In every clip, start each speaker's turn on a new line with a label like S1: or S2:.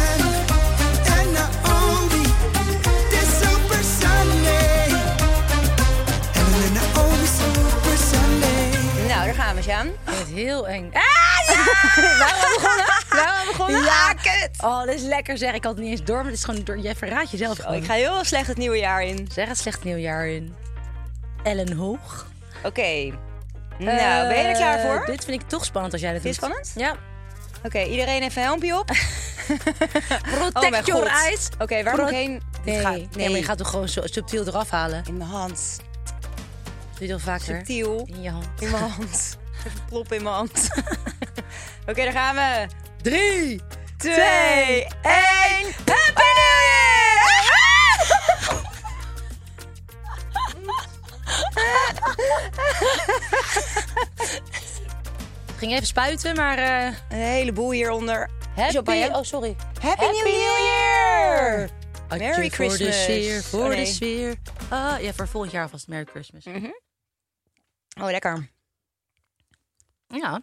S1: And not only the Super Sunday, and then the only Super Sunday.
S2: Nou, daar gaan we, Sjaan. Ah,
S3: Het is heel eng.
S2: Waar we begonnen?
S3: Ja,
S2: kut.
S3: Oh, dit is lekker zeg. Ik had het niet eens door, maar dit is gewoon door. Jij verraadt jezelf
S2: Oh,
S3: gewoon.
S2: ik ga heel slecht het nieuwe jaar in.
S3: Zeg het slecht nieuwjaar in. Ellen Hoog.
S2: Oké. Nou, ben je er
S3: Eh,
S2: klaar voor?
S3: Dit vind ik toch spannend als jij dat
S2: Vind je Oh,
S3: doet.
S2: het
S3: Ja.
S2: Oké, iedereen even een helmpje op.
S3: Protect
S2: Oh mijn
S3: your
S2: god.
S3: eyes.
S2: Oké, waar moet
S3: Pro-
S2: ik heen? Dit
S3: Nee.
S2: gaat-
S3: nee. maar je gaat hem gewoon zo subtiel eraf halen.
S2: in mijn hand.
S3: Doe je dat vaker?
S2: Subtiel.
S3: In je hand.
S2: In mijn hand. Even plop in mijn hand. Oké, daar gaan we.
S3: Drie.
S2: Twee, één. Happy New Year! Ah!
S3: Ik ging even spuiten, maar... eh
S2: Een heleboel hieronder.
S3: happy...
S2: Champagne.
S3: Oh, sorry.
S2: Happy, New Year!
S3: Adje
S2: Merry
S3: Voor de
S2: Christmas.
S3: sfeer, voor
S2: Oh, nee.
S3: de sfeer. Ah, ja, voor volgend jaar vast Merry Christmas.
S2: Mhm. Oh, lekker.
S3: Ja.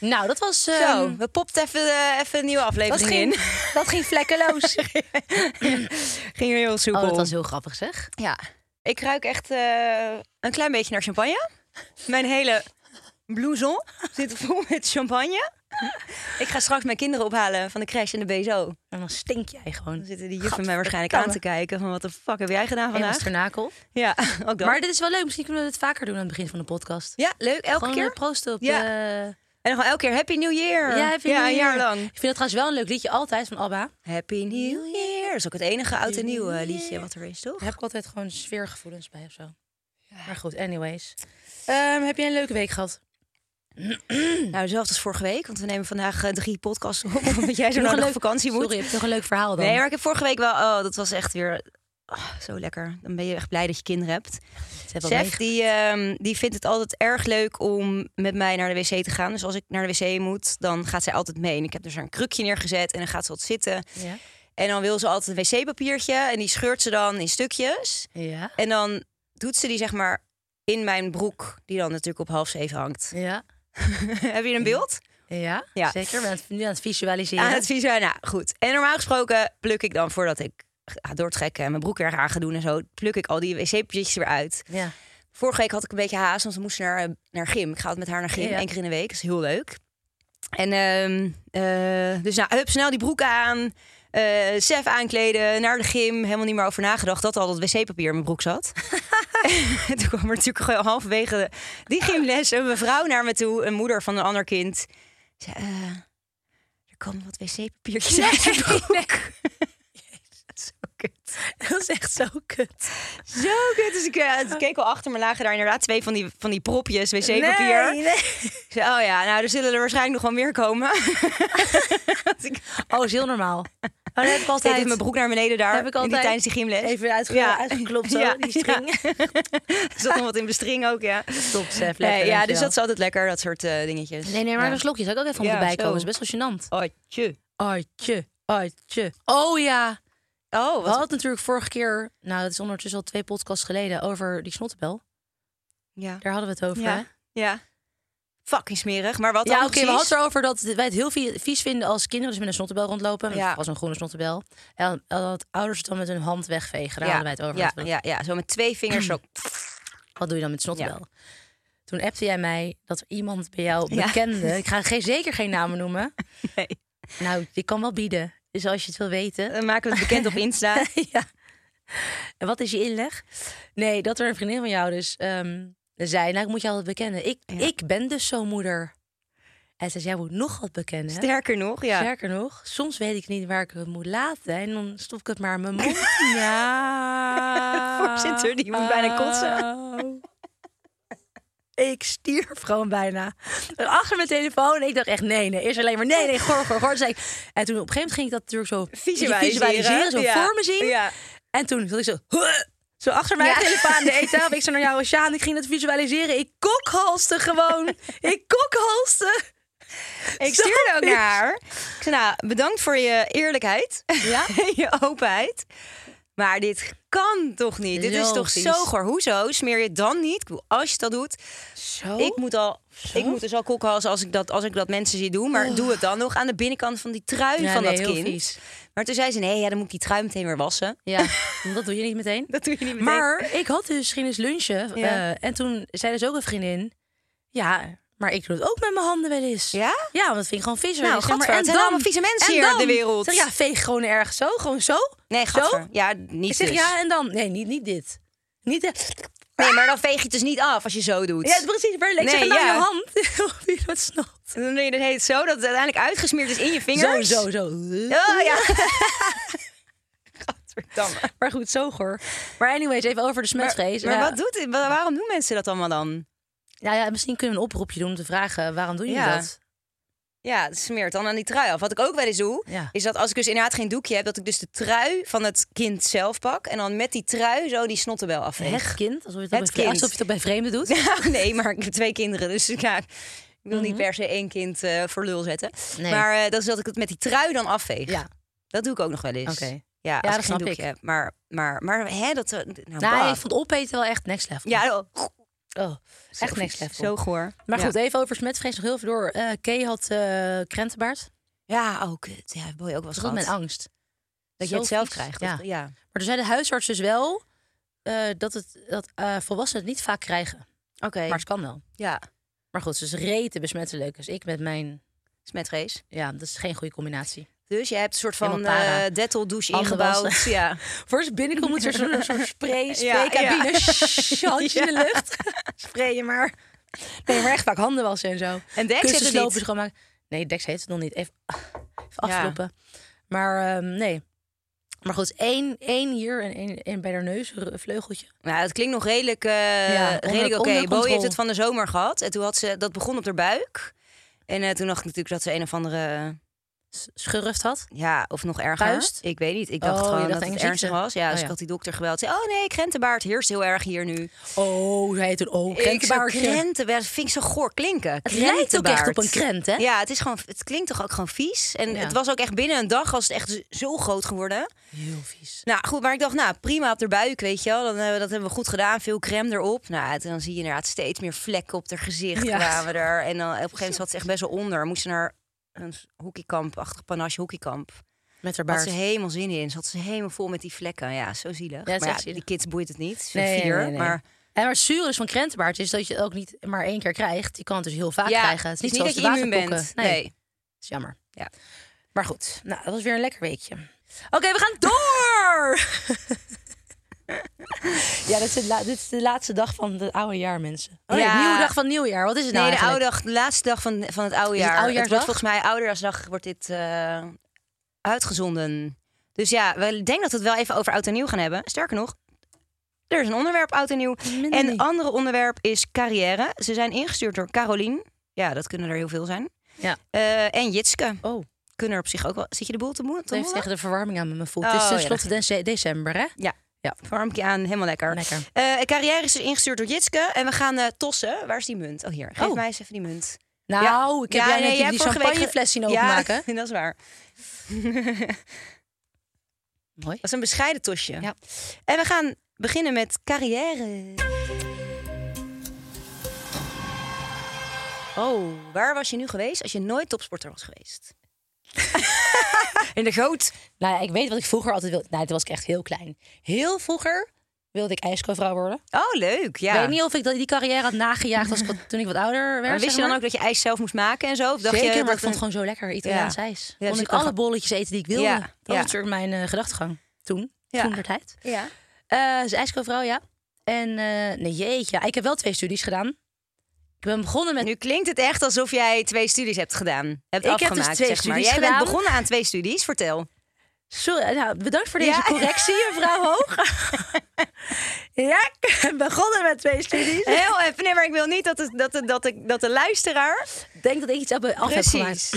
S3: Nou, dat was... eh,
S2: Zo, we popt even, eh, even een nieuwe
S3: dat,
S2: aflevering
S3: ging,
S2: in.
S3: dat ging vlekkeloos.
S2: Ging heel soepel.
S3: Oh, dat was heel grappig zeg.
S2: Ja. Ik ruik echt eh, een klein beetje naar champagne. Mijn hele blouson zit vol met champagne. Ik ga straks mijn kinderen ophalen van de crash en de BSO.
S3: En dan stink jij
S2: Dan
S3: gewoon.
S2: zitten die juffen mij waarschijnlijk aan te kijken van wat de fuck heb jij gedaan
S3: Helemaal
S2: vandaag?
S3: sternakel.
S2: Ja, ook dat.
S3: Maar dit is wel leuk. Misschien kunnen we dit vaker doen aan het begin van de podcast.
S2: ja, leuk. Elke
S3: Gewoon
S2: keer.
S3: eh, proosten op...
S2: Ja.
S3: eh,
S2: En dan gewoon elke keer Happy New Year.
S3: ja, Happy New
S2: een
S3: Year.
S2: jaar lang.
S3: Ik vind dat trouwens wel een leuk liedje altijd van ABBA.
S2: Happy New Year. Dat is ook het enige oud en nieuw eh, liedje wat er is, toch?
S3: Daar heb ik altijd gewoon sfeergevoelens bij of zo. Maar goed, anyways. Ehm, heb jij een leuke week gehad?
S2: Nou, hetzelfde als vorige week, want we nemen vandaag eh, drie podcasts op. Omdat jij zo
S3: Nog
S2: naar
S3: een
S2: de
S3: leuk-
S2: vakantie moet.
S3: Sorry, heb je nog een leuk verhaal dan?
S2: Nee, maar ik heb vorige week wel... Oh, dat was echt weer oh, zo lekker. Dan ben je echt blij dat je kinderen hebt.
S3: Ze hebben al
S2: Chef,
S3: meege-
S2: die, ehm, die vindt het altijd erg leuk om met mij naar de wc te gaan. Dus als ik naar de wc moet, dan gaat zij altijd mee. En ik heb dus haar een krukje neergezet en dan gaat ze wat zitten.
S3: Ja.
S2: En dan wil ze altijd een wc-papiertje en die scheurt ze dan in stukjes.
S3: Ja.
S2: En dan doet ze die zeg maar in mijn broek, die dan natuurlijk op half zeven hangt.
S3: Ja.
S2: heb je een beeld?
S3: Ja.
S2: Ja.
S3: Zeker. We zijn nu aan het visualiseren.
S2: Aan het visueel, nou goed. En normaal gesproken pluk ik dan voordat ik ga doortrekken en mijn broek erg aan ga doen en zo, pluk ik al die wc-papiertjes weer uit.
S3: Ja.
S2: Vorige week had ik een beetje haast, want we moesten naar, eh, naar gym. Ik ga altijd met haar naar gym,
S3: Ja.
S2: één keer in de week. Dat is heel leuk. En ehm, eh, dus nou, hup, snel die broek aan. eh Sef aankleden, naar de gym. Helemaal niet meer over nagedacht dat al dat wc-papier in mijn broek zat. en toen kwam er natuurlijk gewoon halverwege de- die gymles een mevrouw naar me toe. Een moeder van een ander kind. Ze, eh, er komen wat wc-papiertjes uit je broek. Zo kut.
S3: Dat is echt zo kut.
S2: Zo kut. Dus ik eh, het keek al achter me, lagen daar inderdaad twee van die, van die propjes, wc-papier. Ik zei, oh ja, nou, er zullen er waarschijnlijk nog wel meer komen.
S3: Oh, is heel normaal. Oh, dat heb ik altijd.
S2: Steek even mijn broek naar beneden daar,
S3: Heb ik
S2: in die,
S3: altijd.
S2: tijdens die gymles.
S3: Even uitge-
S2: Ja.
S3: uitgeklopt zo,
S2: Ja,
S3: die string.
S2: Er zat nog wat in bestring ook, ja.
S3: Stop, Sef.
S2: Nee,
S3: Lekker,
S2: ja, dus
S3: dankjewel.
S2: dat is altijd lekker, dat soort eh, dingetjes.
S3: Nee, nee, maar
S2: Ja.
S3: een slokje zou ik ook even
S2: Ja,
S3: ja, voorbij komen.
S2: zo.
S3: Dat is best wel gênant.
S2: Oh, tje.
S3: Atje, atje. Oh ja.
S2: Oh,
S3: We
S2: wat...
S3: hadden natuurlijk vorige keer, nou dat is ondertussen al twee podcasts geleden, over die snottebel.
S2: Ja.
S3: Daar hadden we het over, hè?
S2: Ja. ja. fucking smerig. Maar wat
S3: Ja,
S2: dan
S3: oké, we
S2: precies?
S3: hadden het erover dat wij het heel vie- vies vinden als kinderen dus met een snottebel rondlopen.
S2: Ja.
S3: Ja. was een groene snottebel. En dat ouders het dan met hun hand wegvegen. Daar hadden wij het over.
S2: ja,
S3: Dat we-
S2: ja, ja, zo met twee vingers zo.
S3: Wat doe je dan met snottebel? Toen appte jij mij dat er iemand bij jou
S2: Ja.
S3: bekende... Ik ga geen, zeker geen namen noemen.
S2: Nee.
S3: Nou, die kan wel bieden. Dus als je het wil weten...
S2: Dan maken we het bekend op Insta.
S3: ja. En wat is je inleg? Nee, dat er een vriendin van jou dus ehm, zei... Nou, ik moet jou wat bekennen. Ik, ik ben dus zo'n moeder. En ze zei, jij moet nog wat bekennen.
S2: Sterker nog, ja.
S3: Sterker nog, soms weet ik niet waar ik het moet laten. En dan stop ik het maar in mijn mond. ja.
S2: Voorzitter, die moet bijna kotsen.
S3: Ik stierf gewoon bijna. Achter mijn telefoon. En ik dacht echt, nee, nee. Eerst alleen maar, nee, nee, goor, goor, goor. Toen zei ik- En toen op een gegeven moment ging ik dat natuurlijk zo
S2: Visualiseren.
S3: visualiseren, zo
S2: Ja.
S3: voor me zien.
S2: Ja.
S3: En toen zat ik zo... "Huh!" Zo achter mijn telefoon aan de eettafel. Ik zei naar jou, Sjaan, ik ging het visualiseren. Ik kokhalste gewoon. ik kokhalste.
S2: Ik
S3: Zo
S2: stuurde ook
S3: vies.
S2: naar haar. Ik zei, nou, bedankt voor je eerlijkheid
S3: Ja.
S2: en je openheid. Maar dit kan toch niet? Dit is
S3: Zo
S2: toch
S3: vies.
S2: zo goor. Hoezo smeer je het dan niet? Ik bedoel, Als je dat doet.
S3: Zo.
S2: Ik moet, al, ik moet dus al kokhalzen als ik, dat, als ik dat mensen zie doen. Maar doe het dan nog aan de binnenkant van die trui
S3: Ja,
S2: van
S3: nee,
S2: dat
S3: heel
S2: kind.
S3: vies.
S2: Maar toen zei ze, nee, ja, dan moet ik die trui meteen weer wassen.
S3: Ja, want dat doe je niet meteen.
S2: Dat doe je niet meteen.
S3: Maar ik had dus ging dus lunchen.
S2: Ja.
S3: eh, en toen zei dus ook een vriendin... Ja, maar ik doe het ook met mijn handen wel eens.
S2: Ja?
S3: Ja, want dat vind ik gewoon vies.
S2: Nou,
S3: Ik zeg, maar
S2: gadver,
S3: en
S2: het zijn
S3: dan?
S2: allemaal vieze mensen
S3: En
S2: hier op
S3: dan?
S2: de wereld.
S3: Ik zeg, ja, veeg gewoon ergens zo. Gewoon zo.
S2: Nee,
S3: zo.
S2: gadver. Ja, niet
S3: Ik zeg,
S2: dus.
S3: ja, en dan? Nee, niet, niet dit. Niet dit.
S2: Nee, maar dan veeg je het dus niet af als je zo doet.
S3: Ja, precies. Maar ik zeg,
S2: Nee,
S3: nou,
S2: ja.
S3: je hand. Die dat snapt.
S2: En dan doe je het heet zo dat het uiteindelijk uitgesmeerd is in je vingers.
S3: Zo, zo, zo.
S2: Oh ja. Gadverdamme.
S3: Maar goed, zo hoor. Maar anyways, even over de smetvrees.
S2: Maar
S3: Ja.
S2: wat doet, wa- waarom doen mensen dat allemaal dan?
S3: Nou ja, misschien kunnen we een oproepje doen om te vragen... waarom doe je
S2: Ja.
S3: dat?
S2: Ja, het smeert dan aan die trui af. Wat ik ook wel eens doe,
S3: Ja.
S2: is dat als ik dus inderdaad geen doekje heb... dat ik dus de trui van het kind zelf pak... en dan met die trui zo die snottebel
S3: Het
S2: afveeg.
S3: kind? Alsof je het,
S2: Het
S3: ook bij, vre-
S2: kind.
S3: alsof je het ook bij vreemden doet?
S2: Nou, nee, maar ik heb twee kinderen, dus ja, ik wil niet per se één kind eh, voor lul zetten.
S3: Nee.
S2: Maar eh, dat is dat ik het met die trui dan afveeg.
S3: Ja.
S2: Dat doe ik ook nog wel eens.
S3: Oké.
S2: Ja, als
S3: dat
S2: ik geen
S3: snap
S2: doekje
S3: ik.
S2: heb. Maar, maar, maar hè, dat... eh, Nou,
S3: Nou,
S2: bah.
S3: ik vond opeten wel echt next level.
S2: Ja, oh,
S3: Oh, echt next level.
S2: Zo goor.
S3: Maar
S2: Ja.
S3: goed, even over smetvrees nog heel veel door. Eh Kay had eh krentenbaard.
S2: Ja, ook. Ja, dat wil je ook wel
S3: Dat was ook
S2: gehad.
S3: mijn angst.
S2: Dat
S3: Zo
S2: je het zelf
S3: vies.
S2: krijgt.
S3: Ja.
S2: Dat- ja.
S3: Maar toen zei de huisarts dus wel eh, dat, het, dat eh, volwassenen het niet vaak krijgen.
S2: Oké.
S3: Maar het kan wel.
S2: Ja,
S3: Maar goed, ze is reten besmettelijk. Dus ik met mijn...
S2: smetrace.
S3: Ja, dat is geen goede combinatie.
S2: Dus je hebt een soort van
S3: Helemaal para.
S2: eh dettel douche
S3: Handen
S2: ingebouwd.
S3: wassen.
S2: Ja.
S3: Voor ze binnenkomt moet er zo'n zo'n spray,
S2: Ja,
S3: spraycabine, ja. handje in de lucht. Sprayen maar. Nee, maar echt vaak handen wassen en zo.
S2: En Dex heeft
S3: Kussens
S2: het
S3: lopen
S2: niet.
S3: schoonmaken. Nee, Dex heeft het nog niet. Even, ah, even
S2: Ja.
S3: afkloppen. Maar ehm, nee. Maar goed, één, één hier en één, één bij haar neus, een vleugeltje.
S2: Nou, het klinkt nog redelijk, eh,
S3: Ja, onder-
S2: redelijk oké. Bowie heeft
S3: onder controle.
S2: het van de zomer gehad. En toen had ze, dat begon op haar buik. En eh, toen dacht ik natuurlijk dat ze een of andere,
S3: S- Schurft had.
S2: ja, of nog erger.
S3: Puist?
S2: Ik weet niet. Ik dacht
S3: Oh, je
S2: gewoon
S3: dacht
S2: dat
S3: een
S2: het
S3: ziekte.
S2: ernstig was. Ja, dus
S3: Oh, ja.
S2: ik had die dokter gebeld. Zei, oh nee, krentenbaard heerst heel erg hier nu.
S3: Oh, zei hij toen. Oh,
S2: Ik zei,
S3: krentenbaardje.
S2: Krentenbaard, vind ik zo goor klinken.
S3: Het lijkt ook echt op een krent, hè?
S2: Ja, het, is gewoon, het klinkt toch ook gewoon vies. En
S3: Ja.
S2: het was ook echt binnen een dag was het echt zo groot geworden.
S3: Heel vies.
S2: Nou goed, maar ik dacht, nou prima op de buik, weet je wel. Dan hebben we, dat hebben we goed gedaan, veel crème erop. Nou, het- dan zie je inderdaad steeds meer vlekken op haar gezicht
S3: Ja.
S2: kwamen er. En dan op een gegeven moment zat ze echt best wel onder. Moest ze naar een hockeykamp-achtig panache hockeykamp.
S3: Met haar
S2: Had
S3: baard.
S2: ze helemaal zin in. Zat ze helemaal vol met die vlekken. Ja, zo zielig.
S3: Ja, het is
S2: maar
S3: echt zielig.
S2: die kids boeit het niet. Ze zijn
S3: Nee,
S2: vier,
S3: nee, nee, nee.
S2: maar...
S3: En maar het zure is van krentenbaard is dat je het ook niet maar één keer krijgt. Je kan het dus heel vaak krijgen. Het is niet,
S2: dat je
S3: zoals de
S2: immuun bent.
S3: waterpokken.
S2: Nee.
S3: Dat is jammer.
S2: Ja.
S3: Maar goed, nou, dat was weer een lekker weekje. Oké, we gaan door! ja, dit is, de la- dit is de laatste dag van het oude jaar, mensen. Oh, nee,
S2: Ja.
S3: nieuwe dag van het nieuwjaar. Wat is het nou
S2: nee, de, oude
S3: eigenlijk?
S2: dag, de laatste dag van, van het oude
S3: Is het
S2: jaar.
S3: oudejaarsdag?
S2: wordt volgens mij oudejaarsdag wordt dit eh, uitgezonden. Dus ja, we denken dat we het wel even over oud en nieuw gaan hebben. Sterker nog, er is een onderwerp oud en nieuw.
S3: Minder
S2: En oh,
S3: nieuw.
S2: het andere onderwerp is carrière. Ze zijn ingestuurd door Carolien. Ja, dat kunnen er heel veel zijn.
S3: Ja.
S2: Eh, en Jitske.
S3: Oh,
S2: Kunnen er op zich ook wel... Zit je de boel te moe?
S3: het heeft tegen de verwarming aan met mijn voet.
S2: Oh,
S3: het is
S2: ja,
S3: tenslotte dece- december, hè?
S2: Ja.
S3: Ja.
S2: Warmpje aan, helemaal lekker.
S3: Lekker.
S2: Eh, een carrière is dus ingestuurd door Jitske. En we gaan eh, tossen. Waar is die munt? Oh, hier. Geef
S3: Oh.
S2: mij eens even die munt.
S3: Nou, ik heb
S2: Ja,
S3: jij
S2: nee,
S3: net
S2: jij
S3: die
S2: hebt vorige week ge-
S3: champagnefles zien openmaken.
S2: Ja, dat is waar.
S3: Mooi.
S2: Dat is een bescheiden tosje.
S3: Ja.
S2: En we gaan beginnen met carrière. Oh, waar was je nu geweest als je nooit topsporter was geweest? In de goot.
S3: Nou ja, ik weet wat ik vroeger altijd wilde. Nee, toen was ik echt heel klein. Heel vroeger wilde ik ijskoovrouw worden.
S2: Oh, leuk. Ja.
S3: Ik weet niet of ik dat- die carrière had nagejaagd als ik wat- toen ik wat ouder werd.
S2: maar wist
S3: zeg
S2: je dan
S3: maar.
S2: ook dat je ijs zelf moest maken en zo? Of dacht
S3: Zeker,
S2: je
S3: maar ik
S2: dat
S3: vond het gewoon zo lekker. Italiaans
S2: Ja.
S3: ijs.
S2: Ja,
S3: Kon
S2: dus
S3: ik
S2: je kan
S3: alle
S2: gewoon-
S3: bolletjes eten die ik wilde.
S2: Ja,
S3: Dat
S2: ja.
S3: was natuurlijk mijn eh, gedachtegang toen.
S2: Ja.
S3: Toen der tijd.
S2: Ja.
S3: Eh, dus ijskoovrouw, ja. En eh, nee, jeetje. ja, Ik heb wel twee studies gedaan. Ik ben begonnen met...
S2: Nu klinkt het echt alsof jij twee studies hebt gedaan. Hebt
S3: Ik heb dus
S2: afgemaakt,
S3: twee
S2: zeg maar.
S3: studies
S2: jij
S3: gedaan.
S2: bent begonnen aan twee studies, vertel.
S3: Sorry, nou, bedankt voor deze
S2: Ja.
S3: correctie, mevrouw Hoog. ja, ik ben begonnen met twee studies.
S2: Heel even, nee, maar ik wil niet dat, het, dat, het, dat, ik, dat de luisteraar...
S3: Ik denk dat ik iets heb- af heb gemaakt.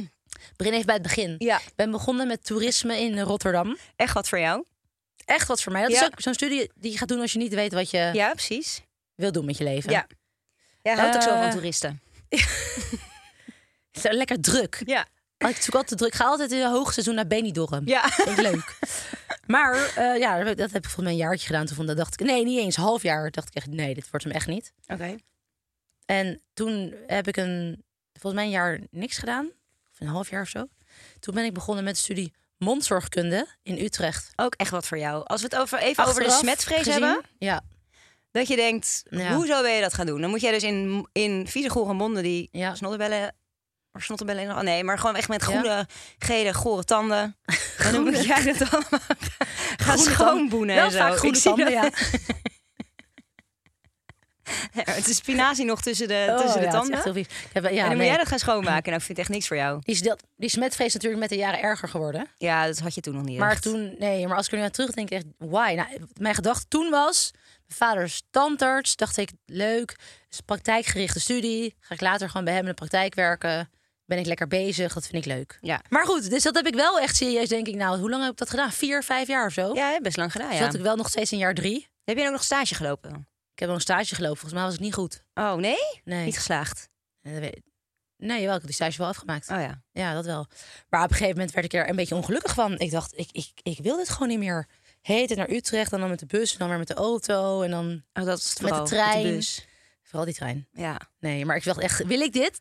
S3: Begin even bij het begin.
S2: Ja.
S3: Ik ben begonnen met toerisme in eh, Rotterdam.
S2: Echt wat voor jou.
S3: Echt wat voor mij. Dat
S2: Ja.
S3: is ook zo'n studie die je gaat doen als je niet weet wat je
S2: Ja, precies.
S3: wil doen met je leven.
S2: Ja. Jij houdt ook zo
S3: Eh,
S2: van toeristen.
S3: Het is lekker druk.
S2: Ja.
S3: Ik zoek altijd te druk. Ik ga altijd in het hoogseizoen naar Benidorm.
S2: Ja.
S3: Vind ik leuk. Maar eh, ja, dat heb ik volgens mij een jaartje gedaan. Toen vond- dacht ik, nee, niet eens. Een half jaar dacht ik echt, nee, dit wordt hem echt niet.
S2: Oké.
S3: En toen heb ik een, volgens mij een jaar niks gedaan. Of een half jaar of zo. Toen ben ik begonnen met de studie mondzorgkunde in Utrecht.
S2: Ook echt wat voor jou. Als we het over, even over de
S3: Achteraf
S2: smetvrees
S3: gezien-
S2: hebben.
S3: Ja,
S2: Dat je denkt,
S3: Ja.
S2: hoezo wil je dat gaan doen? Dan moet jij dus in, in vieze gore monden die
S3: Ja.
S2: snottenbellen... Of snottenbellen, nog- nee, maar gewoon echt met
S3: Ja.
S2: groene, gele, gore tanden. En dan moet jij dat allemaal gaan
S3: Groene
S2: schoonboenen
S3: tanden.
S2: en zo.
S3: Wel vaak groene
S2: Ik zie
S3: tanden,
S2: dat- Ja, Het is spinazie nog tussen de,
S3: Oh,
S2: tussen de
S3: ja, het is
S2: tanden.
S3: echt heel vies. Ik heb- ja,
S2: en dan
S3: nee.
S2: moet jij dat gaan schoonmaken. Nou, ik vind het echt niks voor jou.
S3: Die, is dat, die smetvrees is natuurlijk met de jaren erger geworden.
S2: Ja, dat had je toen nog niet
S3: Maar
S2: echt.
S3: toen, nee, maar als ik er nu aan terugdenk, echt, why? Nou, mijn gedachte toen was, mijn vader is tandarts, dacht ik, leuk, is een praktijkgerichte studie, ga ik later gewoon bij hem in de praktijk werken, ben ik lekker bezig, dat vind ik leuk.
S2: Ja.
S3: Maar goed, dus dat heb ik wel echt serieus, denk ik, nou, hoe lang heb ik dat gedaan? Vier, vijf jaar of zo?
S2: Ja, best lang gedaan,
S3: Dus
S2: ja.
S3: zat ik wel nog steeds in jaar drie.
S2: Heb je ook nog stage gelopen?
S3: Ik heb wel een stage gelopen, volgens mij was ik niet goed.
S2: Oh, nee?
S3: Nee,
S2: Niet geslaagd?
S3: En dat weet- nee jawel, ik heb die stage wel afgemaakt.
S2: Oh ja.
S3: Ja, dat wel. Maar op een gegeven moment werd ik er een beetje ongelukkig van. Ik dacht, ik, ik, ik wil dit gewoon niet meer. Heet het naar Utrecht, en dan met de bus, en dan weer met de auto. En dan
S2: Oh, dat is het
S3: Met de
S2: vooral.
S3: trein.
S2: bus.
S3: vooral die trein.
S2: Ja.
S3: Nee, maar ik dacht echt, wil ik dit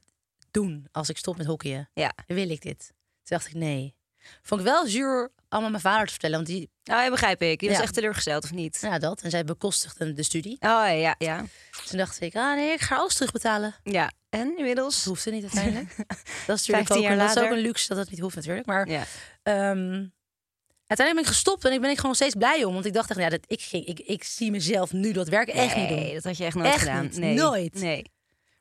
S3: doen als ik stop met hockeyen?
S2: Ja.
S3: Wil ik dit? Toen dacht ik, nee. Vond ik wel zuur om aan mijn vader te vertellen. Want die,
S2: Nou, ja, begrijp ik. Je was
S3: Ja.
S2: echt teleurgesteld, of niet?
S3: nou dat, en zij bekostigde de studie.
S2: Oh ja, ja.
S3: Toen dacht ik, ah nee, ik ga alles terugbetalen.
S2: Ja. En inmiddels?
S3: Dat hoefde niet uiteindelijk. dat is
S2: 15
S3: natuurlijk ook,
S2: jaar
S3: een- dat is ook
S2: later.
S3: een luxe dat dat niet hoeft natuurlijk. Maar
S2: Ja.
S3: Ehm, uiteindelijk ben ik gestopt en ik ben ik gewoon nog steeds blij om. Want ik dacht echt, nou ja, dat, ik, ging, ik, ik zie mezelf nu dat werk echt niet doen.
S2: Nee, dat had je echt nooit
S3: Echt
S2: gedaan.
S3: niet.
S2: Nee.
S3: Nooit.
S2: Nee.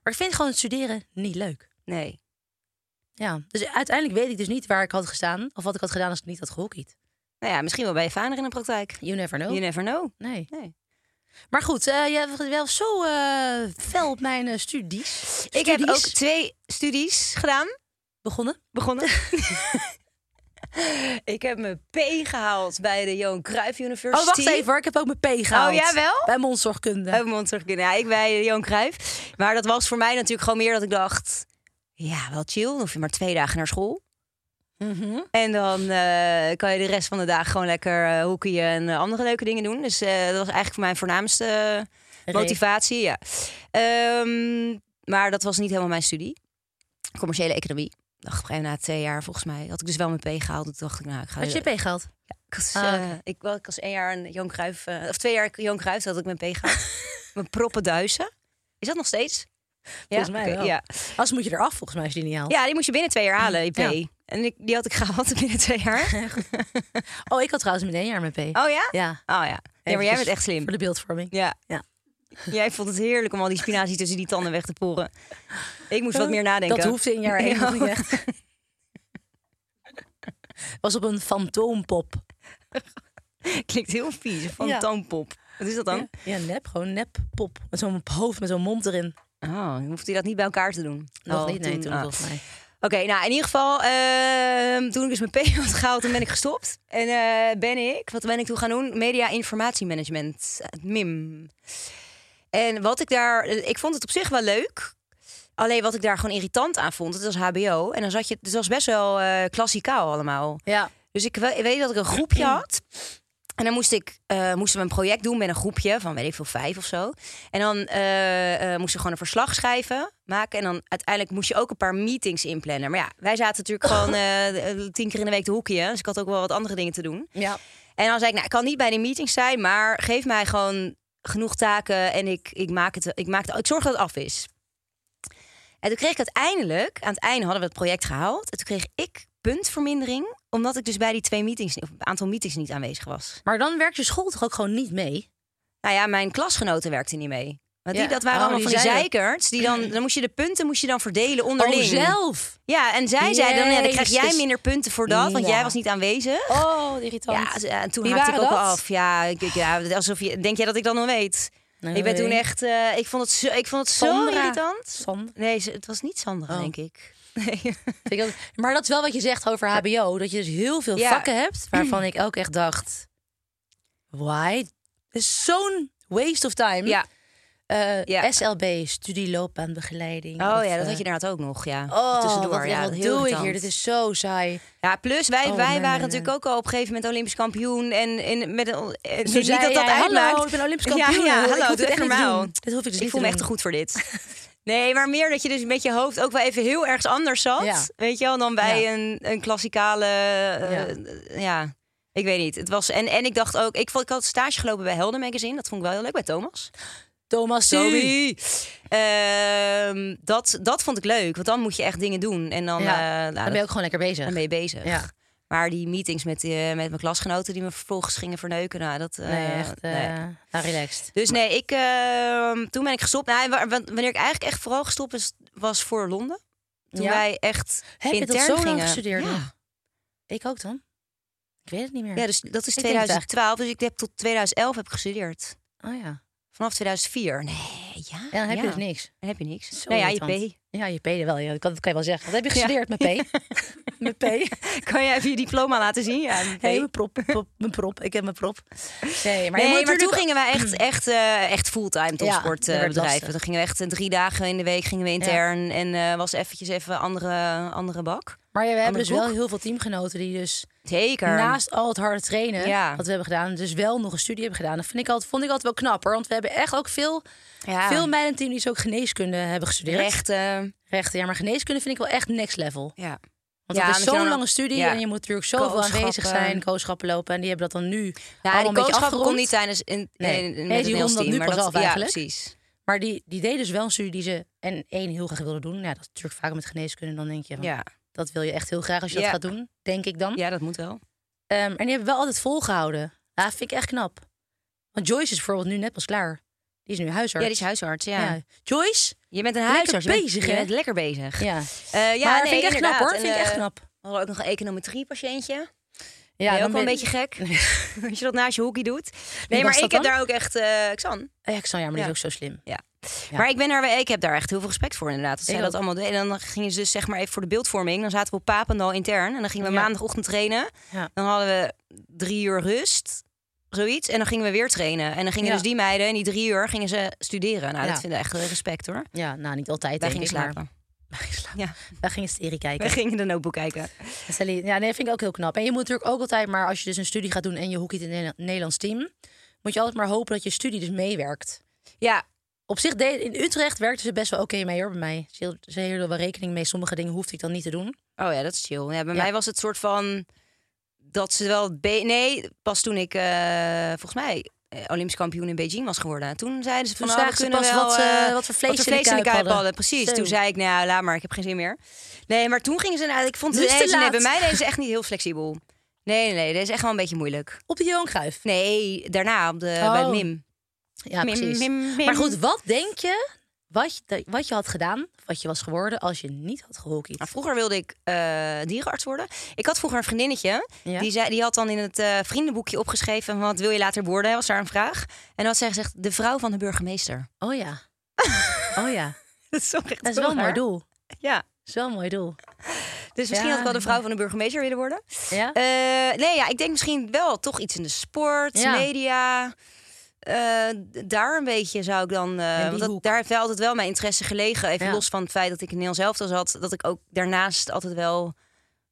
S3: Maar ik vind gewoon het studeren niet leuk.
S2: Nee.
S3: Ja, dus uiteindelijk weet ik dus niet waar ik had gestaan of wat ik had gedaan als ik niet had gehockeyd.
S2: Nou ja, misschien wel bij je vader in de praktijk.
S3: You never know.
S2: You never know.
S3: Nee.
S2: Nee.
S3: Maar goed, eh, je hebt wel zo eh fel op mijn eh, studies.
S2: Ik heb ook
S3: Studies Oh,
S2: twee studies gedaan.
S3: begonnen.
S2: Begonnen. ik heb mijn P gehaald bij de Johan Cruijff University.
S3: Oh, wacht even hoor. Ik heb ook mijn P gehaald.
S2: Oh, jawel?
S3: Bij mondzorgkunde.
S2: Oh, mondzorgkunde. Ja, ik bij Johan Cruijff. Maar dat was voor mij natuurlijk gewoon meer dat ik dacht... Ja, wel chill. Dan hoef je maar twee dagen naar school.
S3: Mhm.
S2: En dan eh, kan je de rest van de dag gewoon lekker eh hoekieën en eh, andere leuke dingen doen. Dus eh, dat was eigenlijk voor mijn voornaamste eh,
S3: Reden.
S2: motivatie. Ja. Ehm, maar dat was niet helemaal mijn studie. Commerciële economie. Dacht op een gegeven moment na twee jaar volgens mij. Had ik dus wel mijn P gehaald. Toen dacht ik, nou, ik ga...
S3: Had je P gehaald?
S2: Ik was,
S3: Ah,
S2: eh,
S3: oké.
S2: ik, wel- ik was één jaar een Johan Cruijff... eh, of twee jaar Johan Cruijff, toen had ik mijn P gehaald. mijn proppen duizen. Is dat nog steeds?
S3: Volgens mij
S2: oké,
S3: wel.
S2: Ja.
S3: Als moet je eraf volgens mij als je die niet haalt.
S2: ja, die moest je binnen twee jaar halen, je P.
S3: Ja.
S2: En ik, die had ik gehaald binnen twee jaar.
S3: Oh, ik had trouwens meteen jaar mijn P.
S2: Oh ja?
S3: Ja.
S2: Oh ja. Nee, maar jij
S3: Eventjes
S2: bent echt slim.
S3: Voor de beeldvorming.
S2: Ja.
S3: Ja.
S2: Jij vond het heerlijk om al die spinazie tussen die tanden weg te poren. Ik moest wat meer nadenken.
S3: Eh, Dat hoefde in jaar één
S2: Ja.
S3: nog niet echt. Was op een fantoompop.
S2: Klinkt heel vies. Fantoompop. Wat is dat dan?
S3: Ja, nep. Gewoon nep pop. Met zo'n hoofd, met zo'n mond erin.
S2: Oh, dan hoeft hij dat niet bij elkaar te doen?
S3: Nog
S2: Oh,
S3: niet, nee, toen
S2: ah.
S3: volgens mij.
S2: Oké, nou in ieder geval, ehm, toen ik dus mijn P had gehaald, toen ben ik gestopt. En eh, ben ik, wat ben ik toen gaan doen? Media informatiemanagement, eh, MIM. En wat ik daar, eh, ik vond het op zich wel leuk. Alleen wat ik daar gewoon irritant aan vond, het was HBO. En dan zat je, dus dat was best wel eh klassikaal allemaal.
S3: Ja.
S2: Dus ik we- weet dat ik een groepje had. En dan moest ik, eh, moesten we een project doen met een groepje van, weet ik veel, vijf of zo. En dan eh, eh, moesten we gewoon een verslag schrijven, maken. En dan uiteindelijk moest je ook een paar meetings inplannen. Maar ja, wij zaten natuurlijk gewoon eh, tien keer in de week de hoekje. Dus ik had ook wel wat andere dingen te doen.
S3: Ja.
S2: En dan zei ik, nou, ik kan niet bij de meetings zijn, maar geef mij gewoon genoeg taken en ik, ik, maak het, ik, maak het, ik zorg dat het af is. En toen kreeg ik uiteindelijk, aan het einde hadden we het project gehaald. En toen kreeg ik puntvermindering, omdat ik dus bij die twee meetings, of aantal meetings niet aanwezig was.
S3: Maar dan werkt je school toch ook gewoon niet mee?
S2: Nou ja, mijn klasgenoten werkten niet mee. Want die,
S3: Ja.
S2: dat waren
S3: Oh,
S2: allemaal
S3: die
S2: van die
S3: zeiden-
S2: zeikerts. Die dan, dan moest je de punten moest je dan verdelen onderling.
S3: Oh, zelf!
S2: Ja, en zij zeiden dan, ja, dan krijg jij
S3: Jezus.
S2: minder punten voor dat, want
S3: Ja.
S2: jij was niet aanwezig.
S3: Oh, irritant.
S2: Ja, ze- en toen
S3: Wie
S2: haakte ik
S3: waren
S2: ook wel
S3: dat?
S2: af. Ja, ik, ik- ja, alsof je, denk jij dat ik dat nog weet?
S3: Oh, Nee.
S2: ik ben toen echt, eh, ik vond het zo, ik vond het zo
S3: Sandra.
S2: irritant.
S3: Sandra.
S2: Nee, ze- het was niet Sandra,
S3: Oh.
S2: denk ik. Nee.
S3: Vind ik ook- Maar dat is wel wat je zegt over HBO. Dat je dus heel veel
S2: Ja.
S3: vakken hebt waarvan ik ook echt dacht... Why? Het is zo'n waste of time.
S2: Ja.
S3: Eh,
S2: Ja.
S3: SLB, studieloopbaanbegeleiding.
S2: Oh
S3: of,
S2: ja, dat
S3: eh,
S2: had je inderdaad ook nog, ja.
S3: Oh,
S2: tussendoor,
S3: wat,
S2: ja.
S3: wat
S2: heel
S3: doe ik
S2: irritant.
S3: hier? Dit is zo saai.
S2: Ja, plus wij,
S3: Oh,
S2: wij
S3: nee,
S2: waren
S3: nee,
S2: natuurlijk ook al op een gegeven moment Olympisch kampioen. En in, met, een- eh,
S3: Zo
S2: niet
S3: zei
S2: dat dat
S3: jij,
S2: uitmaakt.
S3: Hallo, ik ben Olympisch kampioen.
S2: Ja, ja
S3: Ik hoef
S2: hallo,
S3: dit
S2: doe
S3: echt
S2: even
S3: niet te
S2: normaal.
S3: doen. Dit hoef ik dus
S2: ik
S3: niet
S2: voel
S3: te
S2: me
S3: doen.
S2: echt te goed voor dit. Nee, maar meer dat je dus met je hoofd ook wel even heel ergens anders zat.
S3: Ja.
S2: Weet je wel, dan bij
S3: Ja.
S2: een, een klassikale... eh,
S3: Ja.
S2: eh, ja, ik weet niet. Het was, en, en ik dacht ook... Ik, vond, ik had stage gelopen bij Helden Magazine. Dat vond ik wel heel leuk, bij Thomas.
S3: Thomas, Toby.
S2: Toby. Ehm, dat, dat vond ik leuk, want dan moet je echt dingen doen. En dan, eh,
S3: Ja,
S2: nou,
S3: dan ben je ook gewoon lekker bezig.
S2: dan ben je bezig.
S3: Ja.
S2: Maar die meetings met, eh, met mijn klasgenoten die me vervolgens gingen verneuken, nou, dat... eh,
S3: Nee, echt. eh,
S2: nee.
S3: nou, relaxed.
S2: Dus nee, ik, ehm, toen ben ik gestopt. Nou, en wa- wa- wanneer ik eigenlijk echt vooral gestopt is, was voor Londen. Toen
S3: Ja.
S2: wij echt
S3: Heb je
S2: intern
S3: dat zo lang
S2: gingen.
S3: gestudeerd?
S2: Ja.
S3: Ik ook dan. Ik weet het niet meer.
S2: ja, dus dat is
S3: Ik denk het eigenlijk.
S2: 2012. Dus ik heb tot 2011 heb ik gestudeerd.
S3: Oh ja.
S2: Vanaf 2004. Nee, ja.
S3: En dan heb
S2: ja.
S3: je dus niks.
S2: Dan heb je niks.
S3: Zo
S2: nou ja, je
S3: irritant.
S2: P.
S3: Ja, je P wel. Ja, dat kan, dat kan je wel zeggen. Wat heb je
S2: Ja.
S3: gestudeerd met P? met P.
S2: Kan je even je diploma laten zien? Ja, mijn P.
S3: Hey, mijn prop, prop, mijn prop. Ik heb mijn prop. Nee, maar, je
S2: nee,
S3: moet
S2: maar toen
S3: natuurlijk-
S2: gingen wij echt, echt, eh, echt fulltime
S3: Ja, dat werd
S2: topsportbedrijven.
S3: lastig.
S2: dan gingen we echt eh, drie dagen in de week gingen we intern. En eh, was eventjes even andere, andere bak.
S3: Maar ja, we hebben
S2: Andere
S3: dus wel
S2: boek.
S3: heel veel teamgenoten die dus
S2: Zeker.
S3: naast al het harde trainen
S2: Ja.
S3: wat we hebben gedaan, dus wel nog een studie hebben gedaan. Dat vind ik altijd, vond ik altijd wel knap, hoor. Want we hebben echt ook veel,
S2: ja.
S3: veel meiden in het team die dus ook geneeskunde hebben gestudeerd.
S2: rechten.
S3: Rechten, ja, maar geneeskunde vind ik wel echt next level.
S2: Ja.
S3: Want
S2: Ja,
S3: dat
S2: omdat
S3: is
S2: je
S3: zo'n
S2: dan-
S3: lange studie
S2: ja.
S3: en je moet natuurlijk zoveel aanwezig
S2: Kooschappen.
S3: zijn, kooschappen lopen. En die hebben dat dan nu
S2: Ja,
S3: allemaal
S2: die
S3: een beetje
S2: boodschappen kon
S3: afgerond.
S2: niet tijdens in,
S3: Nee.
S2: in, in, met
S3: Nee, die
S2: het Nederlands
S3: ronden
S2: team.
S3: nu
S2: maar
S3: pas
S2: dat,
S3: af
S2: ja,
S3: eigenlijk.
S2: precies.
S3: Maar die, die deed dus wel een studie die ze en één heel graag wilden doen. Ja, dat is natuurlijk vaak met geneeskunde. Dan denk je, van,
S2: Ja.
S3: dat wil je echt heel graag als je
S2: Ja.
S3: dat gaat doen. Denk ik dan.
S2: ja, dat moet wel.
S3: Ehm, en die hebben wel altijd volgehouden. Ja, dat vind ik echt knap. Want Joyce is bijvoorbeeld nu net pas klaar. Die is nu
S2: Ja,
S3: huisarts.
S2: die is huisarts, ja.
S3: Ja. Joyce?
S2: Je bent een
S3: Lekker
S2: huisarts. je bent-
S3: bezig,
S2: je
S3: hè?
S2: bent lekker bezig.
S3: Ja.
S2: Eh, ja
S3: maar
S2: nee,
S3: vind ik echt knap
S2: inderdaad.
S3: hoor.
S2: En,
S3: vind ik echt
S2: eh,
S3: knap.
S2: We hadden ook nog een econometrie-patiëntje.
S3: Ja,
S2: Ja, ook
S3: dan
S2: wel een
S3: ben-
S2: beetje gek. Als je dat naast je hockey doet. Nee,
S3: was
S2: maar ik
S3: dat
S2: heb
S3: dan?
S2: daar ook echt... eh, Xan.
S3: Ja, ik snap, ja, maar die
S2: Ja.
S3: is ook zo slim. Ja.
S2: Maar ik, ben daar, ik heb daar echt heel veel respect voor inderdaad. Dat zij
S3: Ik
S2: dat
S3: ook.
S2: allemaal deden. En dan gingen ze dus zeg maar even voor de beeldvorming. Dan zaten we op Papendal intern. En dan gingen we
S3: Ja.
S2: maandagochtend trainen.
S3: Ja.
S2: Dan hadden we drie uur rust. Zoiets. En dan gingen we weer trainen. En dan gingen
S3: Ja.
S2: dus die meiden in die drie uur gingen ze studeren. Nou, dat
S3: Ja.
S2: vind ik echt wel respect hoor.
S3: Ja, nou niet altijd.
S2: Wij
S3: denk
S2: gingen
S3: ik, maar-
S2: slapen.
S3: Wij gingen slapen.
S2: Ja.
S3: Wij gingen serie kijken.
S2: Wij gingen de notebook kijken.
S3: Celine, ja, nee, vind ik ook heel knap. En je moet natuurlijk ook altijd maar, als je dus een studie gaat doen en je hoekiet in een Nederlands team, moet je altijd maar hopen dat je studie dus meewerkt.
S2: Ja,
S3: Op zich, deed- in Utrecht werkte ze best wel oké mee hoor, bij mij. Ze hield- Ze hielden wel rekening mee. Sommige dingen hoefde ik dan niet te doen.
S2: Oh ja, dat is chill. Ja, bij mij was het soort van dat ze wel. be- Nee, pas toen ik eh, volgens mij eh, Olympisch kampioen in Beijing was geworden. Toen zeiden ze van
S3: Toen
S2: oh, we
S3: zagen ze
S2: kunnen
S3: pas
S2: wel,
S3: wat, eh,
S2: eh,
S3: wat voor vlees in de kuip hadden.
S2: Precies.
S3: Zo.
S2: Toen zei ik, nou laat maar, ik heb geen zin meer. Nee, maar toen gingen ze naar. Ik vond
S3: Nu is het te
S2: deze, nee,
S3: laat.
S2: bij mij deze echt niet heel flexibel. Nee, nee, nee, deze is echt wel een beetje moeilijk.
S3: Op de Johan Cruijff.
S2: Nee, daarna op de,
S3: Oh.
S2: bij de MIM.
S3: Ja,
S2: Mim,
S3: precies.
S2: mim, mim.
S3: Maar goed, wat denk je wat, je wat je had gedaan, wat je was geworden als je niet had gehockeyd?
S2: Nou, vroeger wilde ik eh, dierenarts worden. Ik had vroeger een vriendinnetje.
S3: Ja.
S2: Die, zei, die had dan in het eh, vriendenboekje opgeschreven... van, wat wil je later worden, was daar een vraag. En dan had zij gezegd, de vrouw van de burgemeester.
S3: Oh ja. Oh ja.
S2: Dat is, toch echt
S3: Dat is wel
S2: heel
S3: een mooi
S2: raar.
S3: doel. Dat
S2: Ja,
S3: is wel een mooi doel.
S2: dus misschien
S3: Ja.
S2: had ik wel de vrouw van de burgemeester willen worden.
S3: Ja?
S2: Eh, nee, ja, ik denk misschien wel toch iets in de sport,
S3: Ja.
S2: media. Eh, d- daar een beetje zou ik dan... eh,
S3: die
S2: want dat-
S3: hoek.
S2: daar heeft wel altijd wel mijn interesse gelegen. Even
S3: Ja.
S2: los van het feit dat ik in Nederland zelf zat. Dat ik ook daarnaast altijd wel